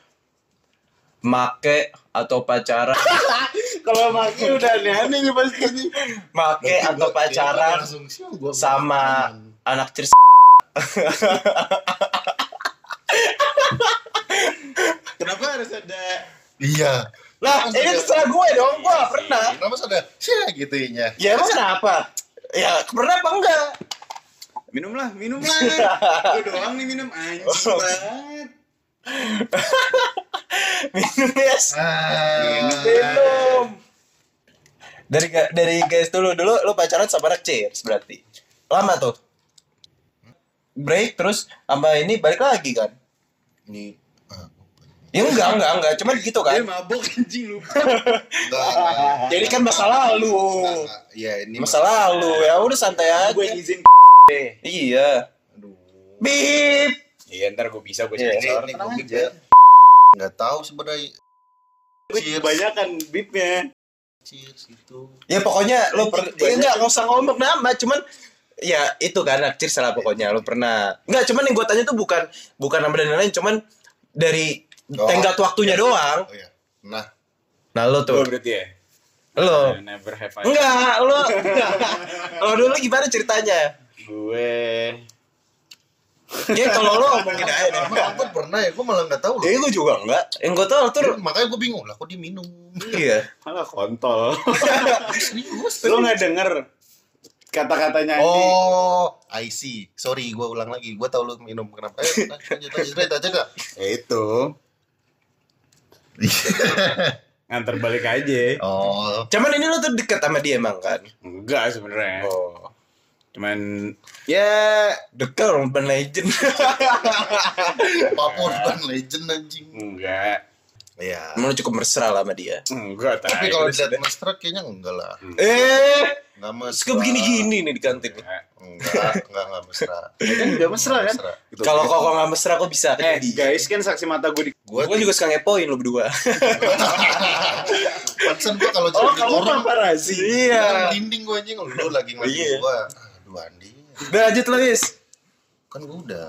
[SPEAKER 3] make atau pacaran
[SPEAKER 1] Kalau makin udah aneh-aneh nih pasti ini.
[SPEAKER 3] make atau
[SPEAKER 2] Gua-
[SPEAKER 3] pacaran
[SPEAKER 2] dia langsung, "Sial, gua
[SPEAKER 3] sama
[SPEAKER 2] makan."
[SPEAKER 3] anak cer
[SPEAKER 1] Kenapa harus ada
[SPEAKER 2] Iya.
[SPEAKER 3] lah ini terserah gue dong gue pernah
[SPEAKER 2] Kenapa ada sih gitu ya?
[SPEAKER 3] ya emang kenapa ya pernah apa enggak
[SPEAKER 1] minum lah, minum lah. Lu doang nih minum anjing banget.
[SPEAKER 3] minum yes
[SPEAKER 2] Ah,
[SPEAKER 3] minum dari ga- dari guys dulu dulu lo pacaran sama anak cheers berarti lama tuh break terus sama ini balik lagi kan
[SPEAKER 2] ini ah,
[SPEAKER 3] ya enggak enggak enggak cuman gitu
[SPEAKER 1] Dia
[SPEAKER 3] kan
[SPEAKER 1] mabok anjing lu.
[SPEAKER 2] enggak, enggak.
[SPEAKER 3] jadi kan masa lalu
[SPEAKER 2] Enggak, Ya nah, ini
[SPEAKER 3] masa lalu ya udah santai aja
[SPEAKER 1] Gue yang izin.
[SPEAKER 3] iya
[SPEAKER 2] Aduh.
[SPEAKER 3] bip
[SPEAKER 1] Iya, ntar gue bisa gue
[SPEAKER 3] Iya,
[SPEAKER 2] Ini
[SPEAKER 1] sensor.
[SPEAKER 2] ini
[SPEAKER 1] Tenang
[SPEAKER 2] gua
[SPEAKER 1] aja.
[SPEAKER 2] pikir. Enggak tahu sebenarnya
[SPEAKER 1] Gue kebanyakan Iya, kan beatnya.
[SPEAKER 2] cheers gitu. itu.
[SPEAKER 3] ya pokoknya lo per
[SPEAKER 1] Banyak.
[SPEAKER 3] ya enggak nggak usah ngomong nama cuman ya itu kan naktir salah pokoknya lo pernah enggak cuman yang gue tanya tuh bukan bukan nama dan lain-lain cuman dari
[SPEAKER 2] Oh.
[SPEAKER 3] tenggat waktunya doang
[SPEAKER 2] Oh ya. Nah,
[SPEAKER 3] nah lo
[SPEAKER 1] Gue
[SPEAKER 3] tuh
[SPEAKER 1] berarti ya. Nah,
[SPEAKER 3] lo
[SPEAKER 1] Never have I.
[SPEAKER 3] enggak lo lo dulu gimana ceritanya
[SPEAKER 1] Gue
[SPEAKER 3] ya kalau lo ngomongin aja deh
[SPEAKER 2] emang Albert pernah ya? Gua malah enggak tahu loh.
[SPEAKER 3] ya gue juga enggak yang gue tahu tuh
[SPEAKER 2] Makanya gua bingung lah kok dia minum.
[SPEAKER 3] iya
[SPEAKER 1] malah kontol.
[SPEAKER 2] Serius.
[SPEAKER 1] Lu nggak denger kata-katanya Andi?
[SPEAKER 2] Oh, I see. Sorry, gua ulang lagi. Gua tahu lu minum kenapa. Eh, lanjut, lanjut, lanjut aja gak?
[SPEAKER 1] Ya itu. Nganter balik aja.
[SPEAKER 2] Oh,
[SPEAKER 3] cuman ini lo tuh deket sama dia emang kan
[SPEAKER 1] Enggak sebenarnya.
[SPEAKER 3] oh
[SPEAKER 1] Cuman
[SPEAKER 3] ya deket urban legend
[SPEAKER 2] Papua Urban Legend anjing.
[SPEAKER 1] enggak.
[SPEAKER 2] Iya.
[SPEAKER 3] emang lo cukup mesra lah sama dia
[SPEAKER 1] Enggak tai.
[SPEAKER 2] Tapi kalau dilihat Mas Truk kayaknya enggak lah.
[SPEAKER 3] Eh,
[SPEAKER 2] Enggak
[SPEAKER 3] terus
[SPEAKER 2] mesra.
[SPEAKER 3] gue begini-gini nih di kantin.
[SPEAKER 1] Enggak.
[SPEAKER 2] Enggak, enggak enggak mesra.
[SPEAKER 1] kan udah mesra kan?
[SPEAKER 2] Mesra.
[SPEAKER 1] Gitu.
[SPEAKER 3] Kalau kok nggak mesra, kok bisa
[SPEAKER 1] eh
[SPEAKER 3] jadi.
[SPEAKER 1] guys kan saksi mata gue di
[SPEAKER 2] Gua
[SPEAKER 3] Gue juga suka ngepoin lo berdua.
[SPEAKER 2] Patsen gua
[SPEAKER 1] Oh,
[SPEAKER 2] kalau jadi orang
[SPEAKER 1] paparazzi.
[SPEAKER 2] iya. merinding gua anjing lu lagi
[SPEAKER 3] Iya.
[SPEAKER 2] ngeliat gua. Aduh Andi,
[SPEAKER 3] Udah lanjut lo, Is.
[SPEAKER 2] kan gua udah.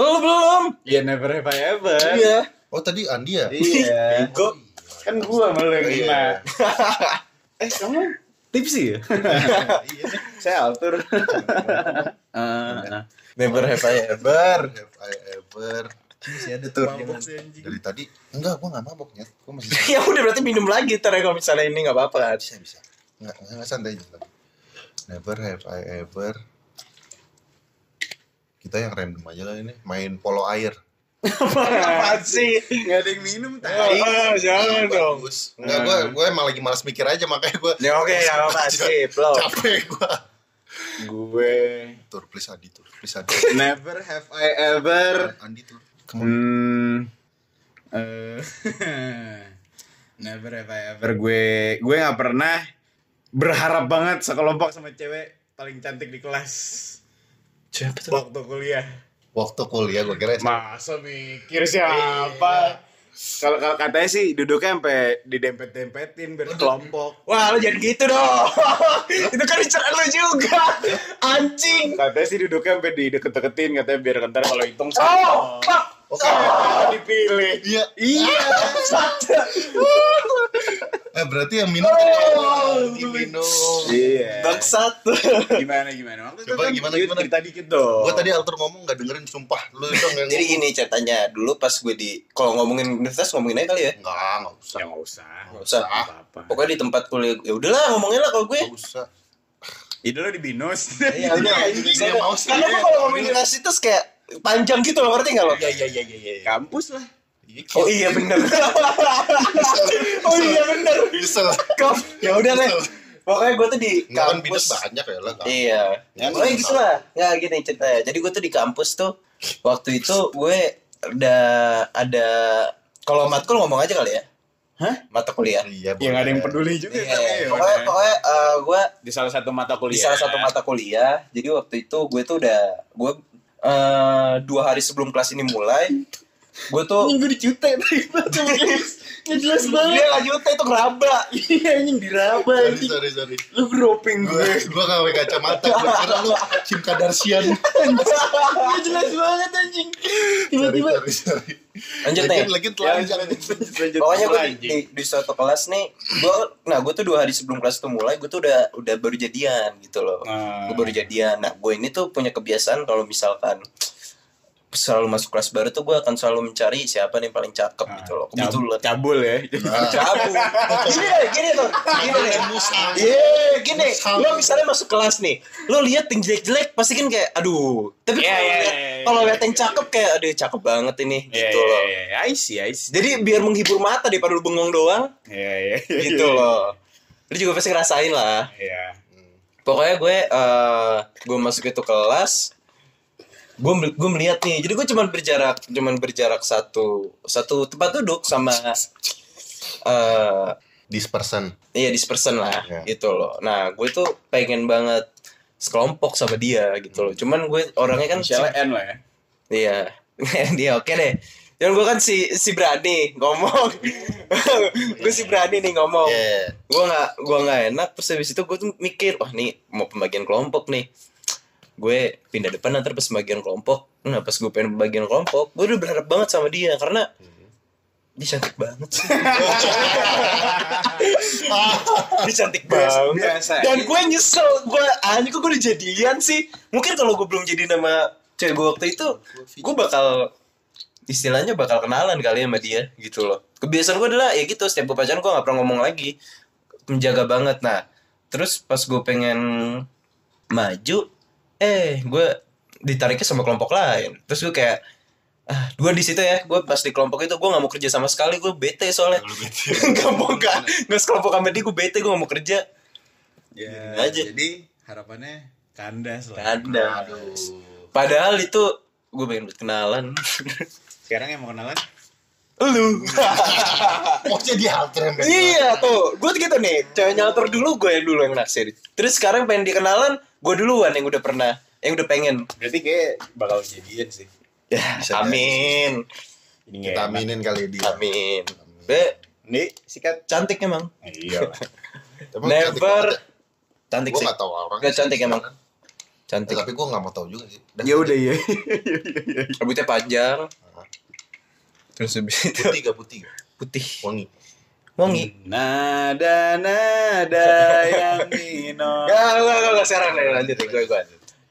[SPEAKER 3] Lo belum.
[SPEAKER 1] Iya never have I ever.
[SPEAKER 3] Iya.
[SPEAKER 2] Oh tadi Andi ya?
[SPEAKER 1] Iya.
[SPEAKER 3] Go.
[SPEAKER 1] Kan gua malah yang
[SPEAKER 2] Iya.
[SPEAKER 1] terima. Eh kamu tipsi ya?
[SPEAKER 2] Iya.
[SPEAKER 1] Saya altur. Ah,
[SPEAKER 3] Never have I ever.
[SPEAKER 2] Have I ever
[SPEAKER 3] Masih ada tuh.
[SPEAKER 2] dari tadi enggak gua enggak mabok nyet. Gua masih
[SPEAKER 3] ya udah berarti minum lagi ntar ya kalau misalnya ini nggak apa-apa kan.
[SPEAKER 2] bisa bisa. Enggak enggak santai aja. Never have I ever kita yang random aja lah ini main polo air
[SPEAKER 3] Apaan sih?
[SPEAKER 1] Gak ada yang minum
[SPEAKER 3] Oh, oh, jangan dong. Hmm.
[SPEAKER 2] bagus enggak gue gue emang lagi malas mikir aja makanya gue
[SPEAKER 3] Ya oke, nggak apa-apa sih, lo.
[SPEAKER 2] capek gue
[SPEAKER 1] Gue
[SPEAKER 2] tur please Andi tur please Andi
[SPEAKER 1] never have I ever.
[SPEAKER 2] Andi tur Come on.
[SPEAKER 1] Hmm. eh, never have I ever. Gue gue nggak pernah berharap banget sekelompok sama cewek paling cantik di kelas
[SPEAKER 3] Siapa tuh?
[SPEAKER 1] waktu kuliah.
[SPEAKER 2] waktu kuliah gue kira
[SPEAKER 1] Masa mikir siapa? Iya. Kalau kalau katanya sih duduknya sampai didempet-dempetin berkelompok.
[SPEAKER 3] Wah, lo jangan gitu dong. Itu kan bicara lo juga. Anjing.
[SPEAKER 1] Katanya sih duduknya sampai di deket-deketin katanya biar ntar kalau hitung
[SPEAKER 3] Oh,
[SPEAKER 1] sama
[SPEAKER 3] fuck.
[SPEAKER 2] oke
[SPEAKER 1] dipilih.
[SPEAKER 2] iya
[SPEAKER 1] Iya.
[SPEAKER 2] eh berarti yang minum kan ya,
[SPEAKER 3] Oh,
[SPEAKER 2] Andi minum
[SPEAKER 1] Iya.
[SPEAKER 3] Bangsat.
[SPEAKER 1] Gimana gimana? Waktu itu
[SPEAKER 2] Coba
[SPEAKER 1] kan
[SPEAKER 2] gimana,
[SPEAKER 1] yuk
[SPEAKER 2] gimana?
[SPEAKER 1] cerita dikit dong.
[SPEAKER 2] gue tadi alter ngomong gak dengerin sumpah lu itu nggak
[SPEAKER 3] Jadi gini ceritanya dulu pas gue di kalau ngomongin universitas ngomongin aja kali ya.
[SPEAKER 2] Enggak, enggak usah.
[SPEAKER 1] Ya nggak usah.
[SPEAKER 3] Nggak usah.
[SPEAKER 1] Nggak apa-apa.
[SPEAKER 3] Pokoknya di tempat kuliah ya udahlah ngomongin lah kalau gue.
[SPEAKER 2] Enggak usah.
[SPEAKER 1] Ide lo di Binus.
[SPEAKER 3] Iya, udah.
[SPEAKER 2] Ini dia Iya,
[SPEAKER 3] Saya-
[SPEAKER 2] mau sih.
[SPEAKER 3] Karena gue kalau ngomongin universitas kayak panjang gitu loh, ngerti nggak lo?
[SPEAKER 2] Iya, iya, iya, iya.
[SPEAKER 1] Kampus lah.
[SPEAKER 2] Iya,
[SPEAKER 3] Oh iya bener. oh iya bener.
[SPEAKER 2] Bisa lah.
[SPEAKER 3] Kok ya udah deh. Pokoknya gue tuh di
[SPEAKER 2] Enggak kan bidas
[SPEAKER 3] kampus.
[SPEAKER 2] banyak ya lah.
[SPEAKER 3] Iya.
[SPEAKER 2] Ya,
[SPEAKER 3] Pokoknya
[SPEAKER 2] nggak
[SPEAKER 3] ya. gitu lah. Nggak gini ceritanya. Jadi gue tuh di kampus tuh waktu itu gue ada ada kalau matkul ngomong aja kali ya
[SPEAKER 1] Hah?
[SPEAKER 3] mata kuliah
[SPEAKER 2] Iya,
[SPEAKER 1] Ya nggak ada yang
[SPEAKER 2] boleh.
[SPEAKER 1] peduli juga
[SPEAKER 3] Iya,
[SPEAKER 1] kan, ya,
[SPEAKER 3] pokoknya
[SPEAKER 1] udah.
[SPEAKER 3] pokoknya eh, gue
[SPEAKER 1] di salah satu mata kuliah.
[SPEAKER 3] di salah satu mata kuliah jadi waktu itu gue tuh udah gue eh, dua hari sebelum kelas ini mulai gue tuh
[SPEAKER 1] Anjing gue dicutek tadi. Nggak jelas
[SPEAKER 3] dia
[SPEAKER 1] banget.
[SPEAKER 3] lanjut itu keraba
[SPEAKER 1] Iya anjing diraba
[SPEAKER 3] Iya,
[SPEAKER 2] Sorry,
[SPEAKER 1] anjing.
[SPEAKER 2] sorry, sorry.
[SPEAKER 1] Lu groping
[SPEAKER 2] Gue
[SPEAKER 1] gue.
[SPEAKER 2] gue nggak pakai kacamata. Gue kira lu Kim Kardashian.
[SPEAKER 1] Nggak jelas banget anjing.
[SPEAKER 2] Sorry,
[SPEAKER 1] Tiba-tiba
[SPEAKER 2] sorry, sorry.
[SPEAKER 3] lanjut nih
[SPEAKER 2] Lagi, lagi
[SPEAKER 1] Ya,
[SPEAKER 2] telanjang.
[SPEAKER 1] lanjut, lanjut, lanjut.
[SPEAKER 3] pokoknya gue di,
[SPEAKER 1] Anjing.
[SPEAKER 3] di, di suatu kelas nih gue nah gue tuh dua hari sebelum kelas itu mulai gue tuh udah udah baru jadian gitu loh
[SPEAKER 1] Ah.
[SPEAKER 3] gue baru jadian nah gue ini tuh punya kebiasaan kalau misalkan selalu masuk kelas baru tuh gue akan selalu mencari siapa nih yang paling cakep
[SPEAKER 1] Ah.
[SPEAKER 3] gitu loh kebetulan
[SPEAKER 1] Cab- Cabul ya.
[SPEAKER 3] Ah. cabut gini deh gini tuh gini deh iya gini lo misalnya masuk kelas nih lo lihat yang jelek-jelek pasti kan kayak aduh tapi
[SPEAKER 1] Iya,
[SPEAKER 3] kalau
[SPEAKER 1] iya,
[SPEAKER 3] lihat-
[SPEAKER 1] iya,
[SPEAKER 3] kalau
[SPEAKER 1] iya.
[SPEAKER 3] lihat yang cakep kayak aduh cakep banget ini
[SPEAKER 1] Iya,
[SPEAKER 3] gitu
[SPEAKER 1] iya,
[SPEAKER 3] loh Gitu
[SPEAKER 1] iya. I see, I see.
[SPEAKER 3] jadi biar menghibur mata daripada lu bengong doang
[SPEAKER 1] Iya, iya. iya,
[SPEAKER 3] gitu
[SPEAKER 1] iya.
[SPEAKER 3] loh lu juga pasti ngerasain lah
[SPEAKER 1] Iya.
[SPEAKER 3] pokoknya gue eh gue masuk itu kelas gue mel- gue melihat nih jadi gue cuman berjarak cuman berjarak satu satu tempat duduk sama eh
[SPEAKER 2] This person.
[SPEAKER 3] iya this person lah
[SPEAKER 2] Iya.
[SPEAKER 3] gitu loh nah gue tuh pengen banget sekelompok sama dia gitu loh cuman gue orangnya kan
[SPEAKER 1] Inisialnya N lah ya.
[SPEAKER 3] Iya, dia oke deh. Yang gue kan si si berani ngomong. gue si berani nih ngomong.
[SPEAKER 2] Iya.
[SPEAKER 3] Gue nggak gue nggak enak. Terus habis itu gue tuh mikir, wah nih mau pembagian kelompok nih. Gue pindah depan nanti pas pembagian kelompok. Nah pas gue pengen pembagian kelompok, gue udah berharap banget sama dia karena dia cantik banget. dia cantik
[SPEAKER 1] Biasa-
[SPEAKER 3] banget.
[SPEAKER 1] biasa.
[SPEAKER 3] Dan gue nyesel, gue anjir kok gue udah jadian sih. Mungkin kalau gue belum jadi nama cewek gue waktu itu, gue bakal istilahnya bakal kenalan kali sama dia gitu loh. Kebiasaan gue adalah ya gitu setiap gue pacaran gue gak pernah ngomong lagi, menjaga banget. Nah, terus pas gue pengen maju, eh gue ditariknya sama kelompok lain. Terus gue kayak ah gue di situ ya gue pas di kelompok itu gue nggak mau kerja sama sekali gue bete soalnya nggak mau nggak nggak sekelompok sama dia gue bete gue nggak mau kerja
[SPEAKER 1] Ya,
[SPEAKER 3] aja.
[SPEAKER 1] Jadi harapannya kandas lah.
[SPEAKER 3] Ada. Padahal itu gue pengen buat kenalan.
[SPEAKER 1] Sekarang yang mau kenalan?
[SPEAKER 3] Lu.
[SPEAKER 2] Pokoknya dia Oh, alter yang kayak
[SPEAKER 3] iya tuh, gue gitu nih. Cewek nyalter dulu gue yang dulu yang naksir. Terus sekarang pengen dikenalan, gue duluan yang udah pernah, yang udah pengen.
[SPEAKER 1] Berarti kayak bakal jadian sih.
[SPEAKER 3] Ya,
[SPEAKER 2] Bisa
[SPEAKER 3] amin.
[SPEAKER 1] Ini nggak
[SPEAKER 2] Kita
[SPEAKER 1] enak.
[SPEAKER 2] aminin kali dia.
[SPEAKER 3] Amin. Be,
[SPEAKER 1] Nih, sikat.
[SPEAKER 3] cantik emang.
[SPEAKER 1] Iya lah.
[SPEAKER 2] Tapi cantik
[SPEAKER 3] Never.
[SPEAKER 2] banget ya.
[SPEAKER 3] Cantik
[SPEAKER 2] Gue
[SPEAKER 3] sih.
[SPEAKER 2] nggak tahu orang.
[SPEAKER 3] Gak cantik emang.
[SPEAKER 2] Eh,
[SPEAKER 3] Cantik.
[SPEAKER 2] tapi gue nggak mau tahu juga sih.
[SPEAKER 1] ya udah
[SPEAKER 3] iya.
[SPEAKER 1] ya.
[SPEAKER 3] Rambutnya panjang. Terus habis itu
[SPEAKER 2] Putih gak putih? nggak?
[SPEAKER 3] putih.
[SPEAKER 2] Wangi.
[SPEAKER 3] Wangi.
[SPEAKER 1] Nada nada yang minor.
[SPEAKER 3] Gak, gak, gak, gak, sekarang nih, lanjut nih, gue, gue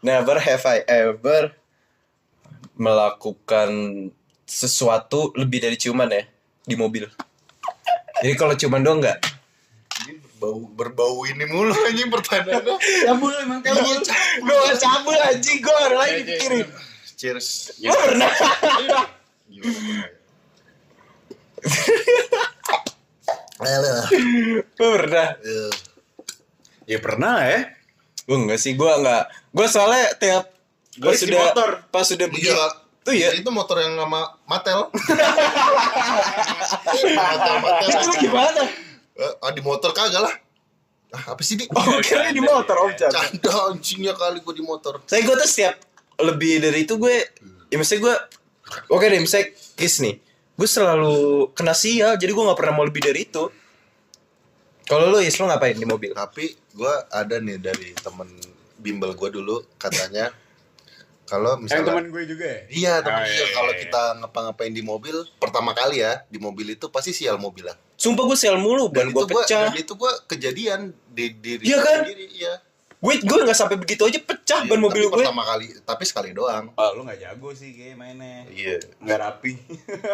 [SPEAKER 3] Never have I ever melakukan sesuatu lebih dari ciuman ya di mobil. Jadi kalau ciuman doang nggak?
[SPEAKER 2] Bau berbau ini mulu anjing pertanyaannya.
[SPEAKER 1] Cabul emang cabul.
[SPEAKER 3] Gue gak cabul anjing, gue orang lain dipikirin.
[SPEAKER 2] Cheers.
[SPEAKER 3] Lo pernah?
[SPEAKER 2] ya? Iya.
[SPEAKER 3] Lo pernah?
[SPEAKER 1] Ya pernah ya.
[SPEAKER 3] Gue enggak sih, gue enggak. Gue soalnya tiap
[SPEAKER 1] Gua
[SPEAKER 3] pas
[SPEAKER 1] isi
[SPEAKER 3] sudah
[SPEAKER 1] motor.
[SPEAKER 3] pas sudah
[SPEAKER 2] Iya.
[SPEAKER 3] begitu. Tuh ya.
[SPEAKER 2] Itu motor yang nama Matel. Matel, Matel.
[SPEAKER 3] Itu gimana?
[SPEAKER 2] Eh, ah, di motor kagak lah. Ah, apa sih di?
[SPEAKER 3] Oh, kira di motor om Chan.
[SPEAKER 2] Canda anjingnya kali gue di motor.
[SPEAKER 3] Saya gue tuh setiap lebih dari itu gue, ya misalnya gue, oke deh misalnya kiss nih, gue selalu kena sial, jadi gue nggak pernah mau lebih dari itu. Kalau lu is lu ngapain di mobil?
[SPEAKER 2] Tapi gue ada nih dari temen bimbel gue dulu katanya kalau
[SPEAKER 1] Yang teman
[SPEAKER 2] misalnya
[SPEAKER 1] gue juga ya.
[SPEAKER 2] Iya, temen
[SPEAKER 1] Oh,
[SPEAKER 2] gue,
[SPEAKER 1] iya, iya,
[SPEAKER 2] kalau
[SPEAKER 1] iya.
[SPEAKER 2] kita ngapa-ngapain di mobil pertama kali ya di mobil itu pasti sial mobil lah.
[SPEAKER 3] Sumpah gue sial mulu, ban gue
[SPEAKER 2] itu gua-
[SPEAKER 3] pecah.
[SPEAKER 2] dan itu gue kejadian di diri
[SPEAKER 3] Iya
[SPEAKER 2] gua
[SPEAKER 3] kan?
[SPEAKER 2] sendiri, iya.
[SPEAKER 3] Gue gue nggak sampai begitu aja pecah ban
[SPEAKER 2] Iya,
[SPEAKER 3] mobil
[SPEAKER 2] tapi
[SPEAKER 3] gue.
[SPEAKER 2] pertama kali, tapi sekali doang.
[SPEAKER 1] Oh, lu gak jago sih kayak mainnya.
[SPEAKER 2] Iya.
[SPEAKER 1] Nggak rapi.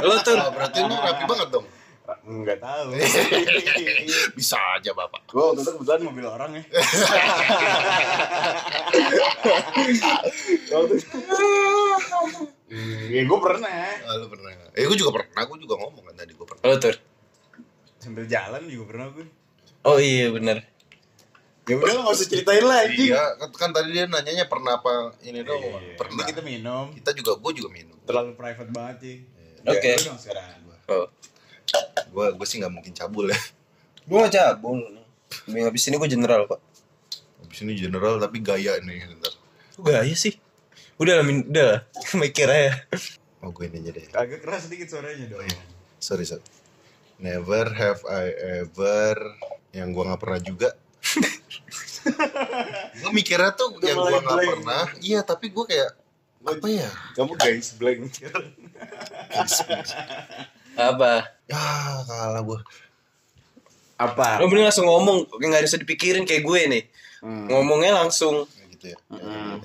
[SPEAKER 3] Lo tuh
[SPEAKER 2] Nah, berarti lu rapi banget dong.
[SPEAKER 1] Nggak tahu. iya,
[SPEAKER 3] Iya.
[SPEAKER 2] Bisa aja bapak.
[SPEAKER 1] Gue waktu itu kebetulan mobil orang ya. waktu itu. Hmm, ya gue pernah.
[SPEAKER 2] Ah, lu pernah? Eh, gue juga pernah. Gue juga ngomong kan tadi gue pernah.
[SPEAKER 3] Lo tuh.
[SPEAKER 1] Sambil jalan juga pernah gue.
[SPEAKER 3] Oh iya bener.
[SPEAKER 1] Ya udah lo nggak usah ceritain lah anjing.
[SPEAKER 2] Iya, kan, kan tadi dia nanyanya pernah apa ini dong.
[SPEAKER 1] Iya,
[SPEAKER 2] Pernah.
[SPEAKER 1] ini kita minum.
[SPEAKER 2] Kita juga gue juga minum.
[SPEAKER 1] Terlalu private banget sih.
[SPEAKER 3] Oke.
[SPEAKER 1] Ya, lu dong sekarang.
[SPEAKER 3] Oh.
[SPEAKER 2] Gue gue sih nggak mungkin cabul ya.
[SPEAKER 3] Gue gak cabul. Minggu habis ini gue general kok.
[SPEAKER 2] Habis ini general tapi gaya nih ntar.
[SPEAKER 3] Gaya sih. Udah lah, min- udah lah. Mikir aja.
[SPEAKER 2] Oh gue ini aja deh.
[SPEAKER 1] Agak keras sedikit suaranya dong.
[SPEAKER 2] Sorry sorry. Never have I ever yang gue nggak pernah juga. gue mikirnya tuh
[SPEAKER 1] Udah
[SPEAKER 2] yang
[SPEAKER 1] mulai
[SPEAKER 2] gue nggak
[SPEAKER 1] blank.
[SPEAKER 2] pernah. Iya tapi gue kayak apa ya?
[SPEAKER 1] Kamu guys blank.
[SPEAKER 3] Apa?
[SPEAKER 2] Ya kalah Nah, gue.
[SPEAKER 1] Apa?
[SPEAKER 3] Lo mending langsung ngomong, kayak gak ada usah dipikirin kayak gue nih.
[SPEAKER 1] Hmm.
[SPEAKER 3] Hmm. Ngomongnya langsung.
[SPEAKER 2] Gitu ya.
[SPEAKER 1] Mm-mm.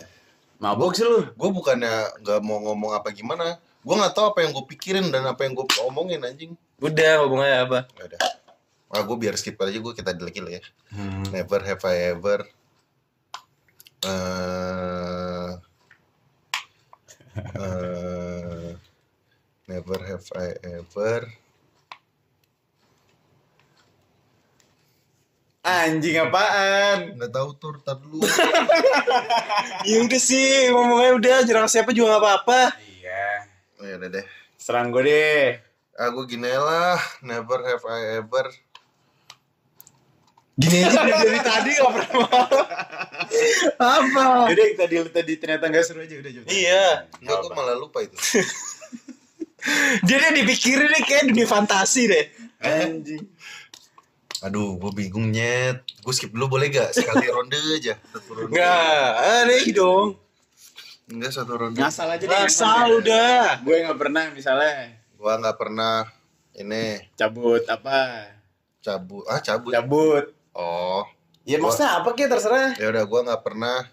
[SPEAKER 1] Mabok sih lu.
[SPEAKER 2] Gue bukannya nggak mau ngomong apa gimana. Gue nggak tahu apa yang gue pikirin dan apa yang gue omongin anjing.
[SPEAKER 3] Udah, ngomongnya apa?
[SPEAKER 2] Gak ada. Ah, gue biar skip aja gue kita delete ya.
[SPEAKER 1] Hmm.
[SPEAKER 2] Never have I ever. eh eh, never have I ever.
[SPEAKER 1] Anjing apaan?
[SPEAKER 2] Nggak tahu tur tar dulu. Oh,
[SPEAKER 3] Ya udah sih, ngomongnya udah. Jerang siapa juga gak apa-apa.
[SPEAKER 1] Iya.
[SPEAKER 2] Oh, ya udah deh.
[SPEAKER 1] Serang gue deh.
[SPEAKER 2] Ah, gue gini lah. Never have I ever.
[SPEAKER 3] Gini aja udah dari tadi gak pernah Apa?
[SPEAKER 1] Jadi tadi tadi ternyata nggak seru aja udah coba.
[SPEAKER 3] Iya.
[SPEAKER 2] Enggak, gue malah lupa itu.
[SPEAKER 3] Dia dia dipikirin deh kayak dunia fantasi deh.
[SPEAKER 1] Anjing.
[SPEAKER 2] Aduh, gue bingung nyet. Gue skip dulu boleh gak? Sekali ronde aja. Satu ronde.
[SPEAKER 3] Enggak, aneh dong.
[SPEAKER 2] Enggak satu ronde.
[SPEAKER 1] Ngasal aja deh.
[SPEAKER 3] Masa udah.
[SPEAKER 1] Gue nggak pernah misalnya
[SPEAKER 2] Gue nggak pernah ini
[SPEAKER 1] cabut apa?
[SPEAKER 2] cabut. Ah, cabut.
[SPEAKER 1] Cabut.
[SPEAKER 2] Oh,
[SPEAKER 1] Ya
[SPEAKER 2] Gua-
[SPEAKER 1] maksudnya apa kek terserah.
[SPEAKER 2] ya udah gue nggak pernah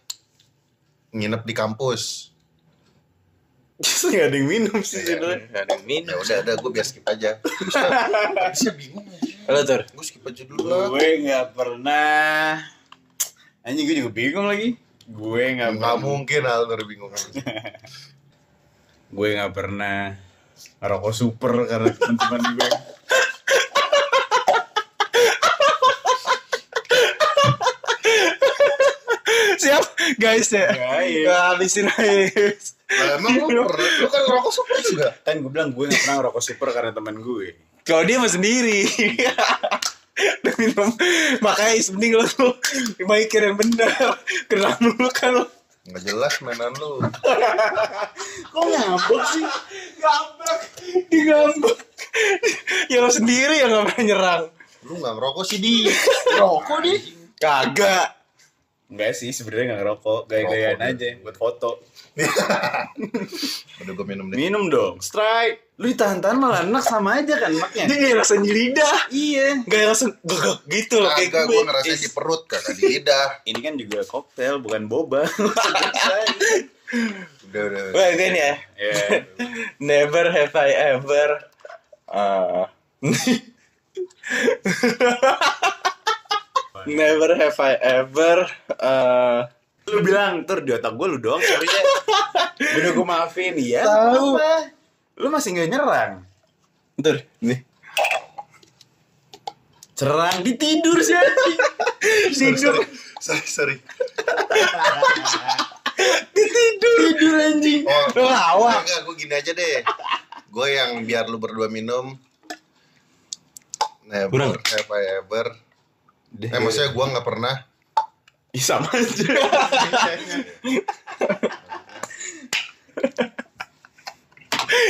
[SPEAKER 2] nginep di kampus.
[SPEAKER 1] Justru nggak ada yang minum sih sebenarnya.
[SPEAKER 2] Ya udah, ada gue biar skip aja. Bisa bingung.
[SPEAKER 3] Halo Tur.
[SPEAKER 2] Gue skip aja dulu lah.
[SPEAKER 1] Gue nggak pernah. Anjing gue juga bingung lagi. Gue nggak
[SPEAKER 2] Nggak
[SPEAKER 1] pernah.
[SPEAKER 2] mungkin Alnur bingung.
[SPEAKER 1] Gue nggak pernah ngerokok super karena teman-teman gue.
[SPEAKER 3] Siap guys ya.
[SPEAKER 1] Guys.
[SPEAKER 3] Nah, habisin aja.
[SPEAKER 2] Lah, emang lu pernah? Lu kan ngerokok super juga.
[SPEAKER 1] Kan gue bilang gue nggak pernah ngerokok super karena teman gue.
[SPEAKER 3] Kalau dia mah sendiri. Udah minum. Makanya is mending lo mikir yang benar. Kenal dulu kan lo.
[SPEAKER 2] Nggak jelas mainan lu.
[SPEAKER 1] Kok ngambek sih?
[SPEAKER 3] Gambek, digambek. Ya lo sendiri yang gak pernah nyerang.
[SPEAKER 2] Lu nggak ngerokok sih di.
[SPEAKER 1] Ngerokok nih?
[SPEAKER 3] Kagak.
[SPEAKER 1] Enggak sih, sebenarnya nggak ngerokok. Gaya-gayaan
[SPEAKER 2] Ngerokok,
[SPEAKER 1] aja buat foto.
[SPEAKER 2] Udah gue minum deh.
[SPEAKER 1] Minum dong, strike. Lu ditahan-tahan malah enak sama aja kan
[SPEAKER 3] Dia
[SPEAKER 1] maknya.
[SPEAKER 3] kayak ngerasain di lidah.
[SPEAKER 1] Iya.
[SPEAKER 3] Gak langsung gegek gitu loh kayak
[SPEAKER 2] Kagak gitu.
[SPEAKER 3] gue.
[SPEAKER 2] gue ngerasain di perut kagak di lidah.
[SPEAKER 1] Ini kan juga koktail, bukan boba.
[SPEAKER 2] Udah udah. udah.
[SPEAKER 3] Wah, gue nih ya.
[SPEAKER 1] Ya.
[SPEAKER 3] Never have I ever. Uh, Never have I ever. Uh,
[SPEAKER 1] Lu bilang, ter di otak gue lu doang sorry-nya." Udah gue maafin, ya.
[SPEAKER 3] Tahu.
[SPEAKER 1] apa? Lu masih nggak nyerang.
[SPEAKER 3] bentar, nih.
[SPEAKER 1] Cerang ditidur sih anjing.
[SPEAKER 3] Tidur,
[SPEAKER 2] Sorry sorry.
[SPEAKER 3] tidur, tidur anjing. Lu lawak.
[SPEAKER 2] Oh, Enggak, gue gini aja deh. Gue yang biar lu berdua minum. Never
[SPEAKER 3] Kurang.
[SPEAKER 2] have I ever. Eh, maksudnya gue nggak pernah.
[SPEAKER 1] Ih, sama aja.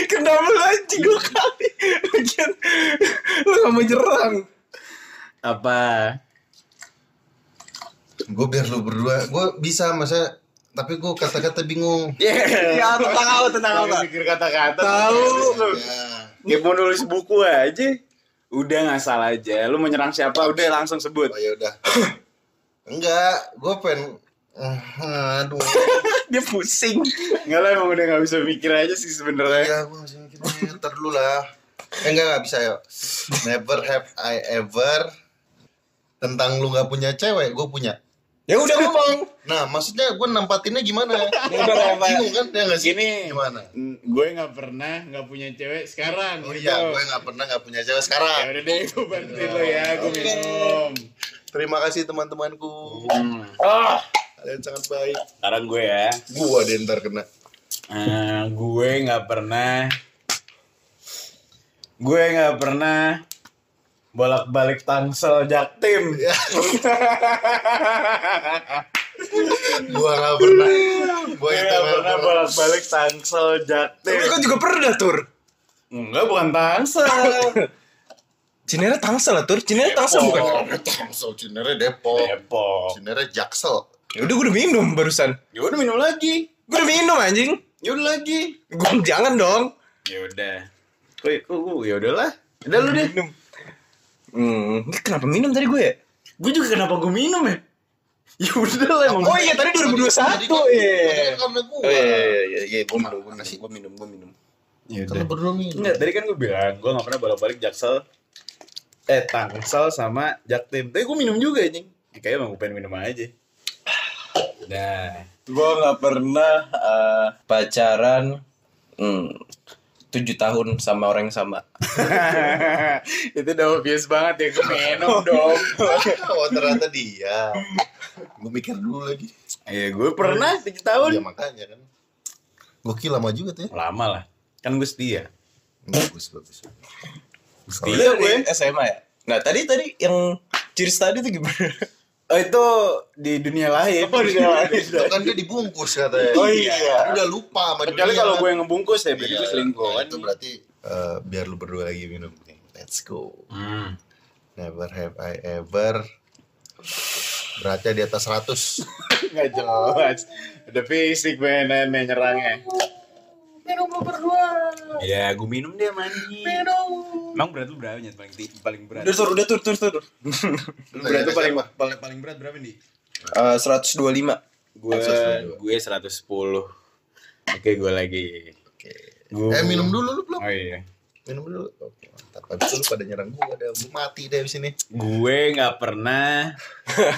[SPEAKER 3] Kenapa lu anjing dua kali? Lagian, lu gak mau nyerang.
[SPEAKER 1] Apa?
[SPEAKER 2] Gue biar lu berdua. Gue bisa, maksudnya. Tapi gue kata-kata bingung.
[SPEAKER 1] Iya, Yeah.
[SPEAKER 3] Ya, tentang apa, tentang apa.
[SPEAKER 1] mikir kata-kata.
[SPEAKER 3] Tahu.
[SPEAKER 1] Lu.
[SPEAKER 2] Ya.
[SPEAKER 1] Kayak mau nulis buku aja. Udah nggak salah aja. Lu mau nyerang siapa? Udah langsung sebut.
[SPEAKER 2] Oh ya udah. Enggak, gue pengen. Ah, aduh.
[SPEAKER 3] Dia pusing.
[SPEAKER 1] Enggak lah emang udah nggak bisa mikir aja sih sebenarnya.
[SPEAKER 2] Ya, gue masih mikir nih, ntar dulu lah. Eh, enggak, enggak bisa yuk. Never have I ever tentang lu nggak punya cewek, gue punya.
[SPEAKER 3] Ya udah ngomong.
[SPEAKER 2] Nah, maksudnya gue nempatinnya gimana?
[SPEAKER 3] Never have I
[SPEAKER 2] Bingung kan dia nggak sih?
[SPEAKER 1] Gini.
[SPEAKER 2] Gimana?
[SPEAKER 1] Mm, Gue nggak pernah nggak punya cewek sekarang.
[SPEAKER 2] Oh
[SPEAKER 1] gitu.
[SPEAKER 2] iya, gue nggak pernah nggak punya cewek
[SPEAKER 1] Ya
[SPEAKER 2] sekarang.
[SPEAKER 1] udah deh, gue bantuin lo ya, gue minum.
[SPEAKER 2] Terima kasih teman-temanku.
[SPEAKER 1] Ah,
[SPEAKER 2] Kalian sangat baik.
[SPEAKER 1] sekarang gue ya.
[SPEAKER 2] Gua deh ntar kena.
[SPEAKER 1] Eh, gue nggak pernah gue nggak pernah bolak-balik tangsel jaktim
[SPEAKER 2] Iya. Ya, Gua gak pernah. Gua
[SPEAKER 1] gue
[SPEAKER 2] itu
[SPEAKER 1] nggak
[SPEAKER 2] gak
[SPEAKER 1] pernah
[SPEAKER 2] pernah.
[SPEAKER 1] bolak-balik tangsel
[SPEAKER 3] Tapi
[SPEAKER 1] jaktim
[SPEAKER 3] kau juga pernah tur.
[SPEAKER 1] enggak bukan tangsel
[SPEAKER 3] Cinere tangsel lah tur. Cinere tangsel
[SPEAKER 1] Depok.
[SPEAKER 3] bukan?
[SPEAKER 2] Tangsel Oh, Cinere Depok.
[SPEAKER 1] depok
[SPEAKER 2] Cinere Jaksel.
[SPEAKER 3] Ya udah gue udah minum barusan.
[SPEAKER 1] ya udah minum lagi
[SPEAKER 3] Gue udah minum anjing.
[SPEAKER 1] ya udah lagi
[SPEAKER 3] Gue jangan dong.
[SPEAKER 1] ya udah kok kok kok- ya udahlah udah lu deh
[SPEAKER 3] Minum. Hmm, ini kenapa minum tadi gue ya?
[SPEAKER 1] gue juga kenapa gue minum ya ya udah lah emang
[SPEAKER 3] Oh iya tadi
[SPEAKER 2] Iya.
[SPEAKER 3] 2021 ya.
[SPEAKER 2] Sama gua.
[SPEAKER 3] Oh iya iya iya iya gue minum gue
[SPEAKER 2] Mana
[SPEAKER 3] minum
[SPEAKER 2] sih?
[SPEAKER 3] gue minum gue minum.
[SPEAKER 1] ya
[SPEAKER 2] Kalian
[SPEAKER 1] udah
[SPEAKER 2] berdua minum.
[SPEAKER 1] Enggak, tadi kan gue bilang gue gak pernah bolak-balik jaksel eh tangsel sama jaktim. Tapi gue minum juga anjing. Ya, kayaknya emang gue pengen minum aja. Nah,
[SPEAKER 3] Gue nggak pernah eh, pacaran hmm, tujuh tahun sama orang yang sama.
[SPEAKER 1] itu udah obvious banget ya gue minum dong.
[SPEAKER 2] Oh ternyata dia. Gua mikir dulu lagi.
[SPEAKER 1] Iya, gue pernah 7
[SPEAKER 2] Iya
[SPEAKER 1] tahun.
[SPEAKER 2] makanya kan. Gokil lama juga tuh ya.
[SPEAKER 1] Lama lah. Kan gue setia. Iya,
[SPEAKER 2] Bagus bagus.
[SPEAKER 3] Oh,
[SPEAKER 1] Setia
[SPEAKER 3] Dari
[SPEAKER 1] gue.
[SPEAKER 3] SMA ya. Nah tadi tadi yang ciri tadi tuh gimana?
[SPEAKER 1] Oh, itu di dunia lain. Apa dunia lain?
[SPEAKER 2] Itu kan dia dibungkus katanya.
[SPEAKER 1] Oh, iya.
[SPEAKER 2] Lu Udah lupa sama
[SPEAKER 1] Kecuali
[SPEAKER 2] dunia.
[SPEAKER 1] kalau gue yang ngebungkus ya, berarti
[SPEAKER 2] Iya,
[SPEAKER 1] gue selingkuhan.
[SPEAKER 2] Itu berarti eh, biar lu berdua lagi minum nih. Let's go.
[SPEAKER 1] Hmm.
[SPEAKER 2] Never have I ever beratnya di atas 100.
[SPEAKER 1] Gak jelas. Udah fisik mainan nyerangnya.
[SPEAKER 2] Minum lu berdua.
[SPEAKER 1] Ya, gue minum dia mandi.
[SPEAKER 2] Minum.
[SPEAKER 1] Emang berat lu berapa nih paling ti- paling berat?
[SPEAKER 3] Udah tur udah tur tur tur.
[SPEAKER 1] Lu berat tuh paling
[SPEAKER 2] Siapa?
[SPEAKER 1] paling paling berat berapa nih?
[SPEAKER 3] Eh, Seratus dua lima.
[SPEAKER 1] Gue
[SPEAKER 2] 192.
[SPEAKER 1] gue 110. Oke, gue lagi.
[SPEAKER 2] Oke.
[SPEAKER 1] Gua-
[SPEAKER 2] Eh minum dulu lu belum?
[SPEAKER 1] Oh iya.
[SPEAKER 2] Minum dulu. Oke, mantap. Habis itu lu pada nyerang gua ada lu mati deh di sini.
[SPEAKER 1] Gue nggak pernah uh,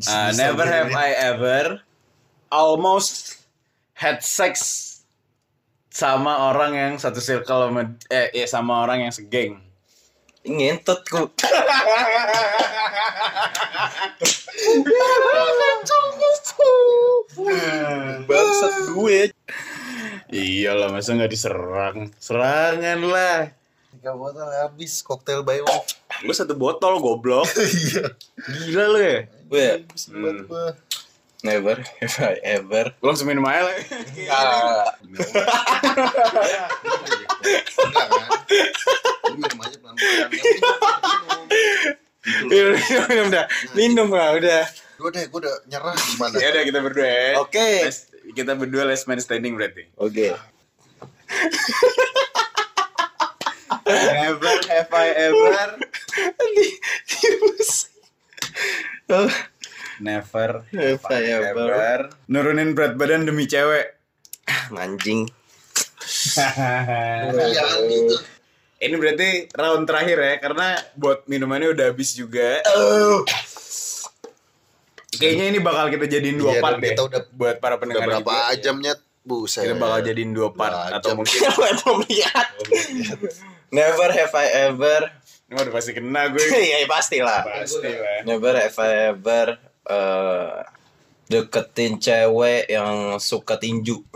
[SPEAKER 2] Bisa
[SPEAKER 1] never
[SPEAKER 2] gini,
[SPEAKER 1] have
[SPEAKER 2] nih.
[SPEAKER 1] I ever almost had sex sama orang yang satu circle sama eh ya sama orang yang segeng.
[SPEAKER 3] Ngentot kok.
[SPEAKER 1] Hmm.
[SPEAKER 3] Bangsat gue.
[SPEAKER 1] Iya lah, masa nggak diserang? Serangan lah.
[SPEAKER 2] Tiga botol habis koktail by Wolf.
[SPEAKER 1] Gue Ah, satu botol goblok.
[SPEAKER 2] Iya.
[SPEAKER 1] Gila lu ya.
[SPEAKER 3] Gue
[SPEAKER 2] Pusing banget gua.
[SPEAKER 3] never have I ever.
[SPEAKER 1] Lu langsung minum aja lah.
[SPEAKER 3] Ah,
[SPEAKER 2] Enggak kan? Lu minum aja pelan-pelan. Yang penting minum. Gitu loh.
[SPEAKER 1] Minum, Iya, minum dah. Minum lah udah.
[SPEAKER 2] Dua deh, gua udah nyerah gimana?
[SPEAKER 1] Ya udah kita berdua ya.
[SPEAKER 3] Oke.
[SPEAKER 1] Last- kita berdua last man standing berarti.
[SPEAKER 3] Oke.
[SPEAKER 1] Never have I ever. Oh. Never
[SPEAKER 3] Have I ever.
[SPEAKER 1] ever. Nurunin berat badan demi cewek.
[SPEAKER 3] Anjing.
[SPEAKER 2] Iya gitu.
[SPEAKER 1] Ini berarti round terakhir ya karena buat minumannya udah habis juga. Kayaknya ini bakal kita jadiin dua
[SPEAKER 2] Iya,
[SPEAKER 1] part
[SPEAKER 2] dan
[SPEAKER 1] deh.
[SPEAKER 2] kita udah-
[SPEAKER 1] buat para
[SPEAKER 2] Udah
[SPEAKER 1] pendengar
[SPEAKER 2] berapa
[SPEAKER 1] juga.
[SPEAKER 2] jamnya? Buset.
[SPEAKER 1] Kita bakal jadiin dua part
[SPEAKER 2] Dua
[SPEAKER 1] atau
[SPEAKER 2] jam.
[SPEAKER 1] mungkin
[SPEAKER 3] Never have I ever.
[SPEAKER 1] ini udah pasti kena gue.
[SPEAKER 3] Iya pasti lah.
[SPEAKER 1] Pasti lah.
[SPEAKER 3] Never have I ever eh, deketin cewek yang suka tinju.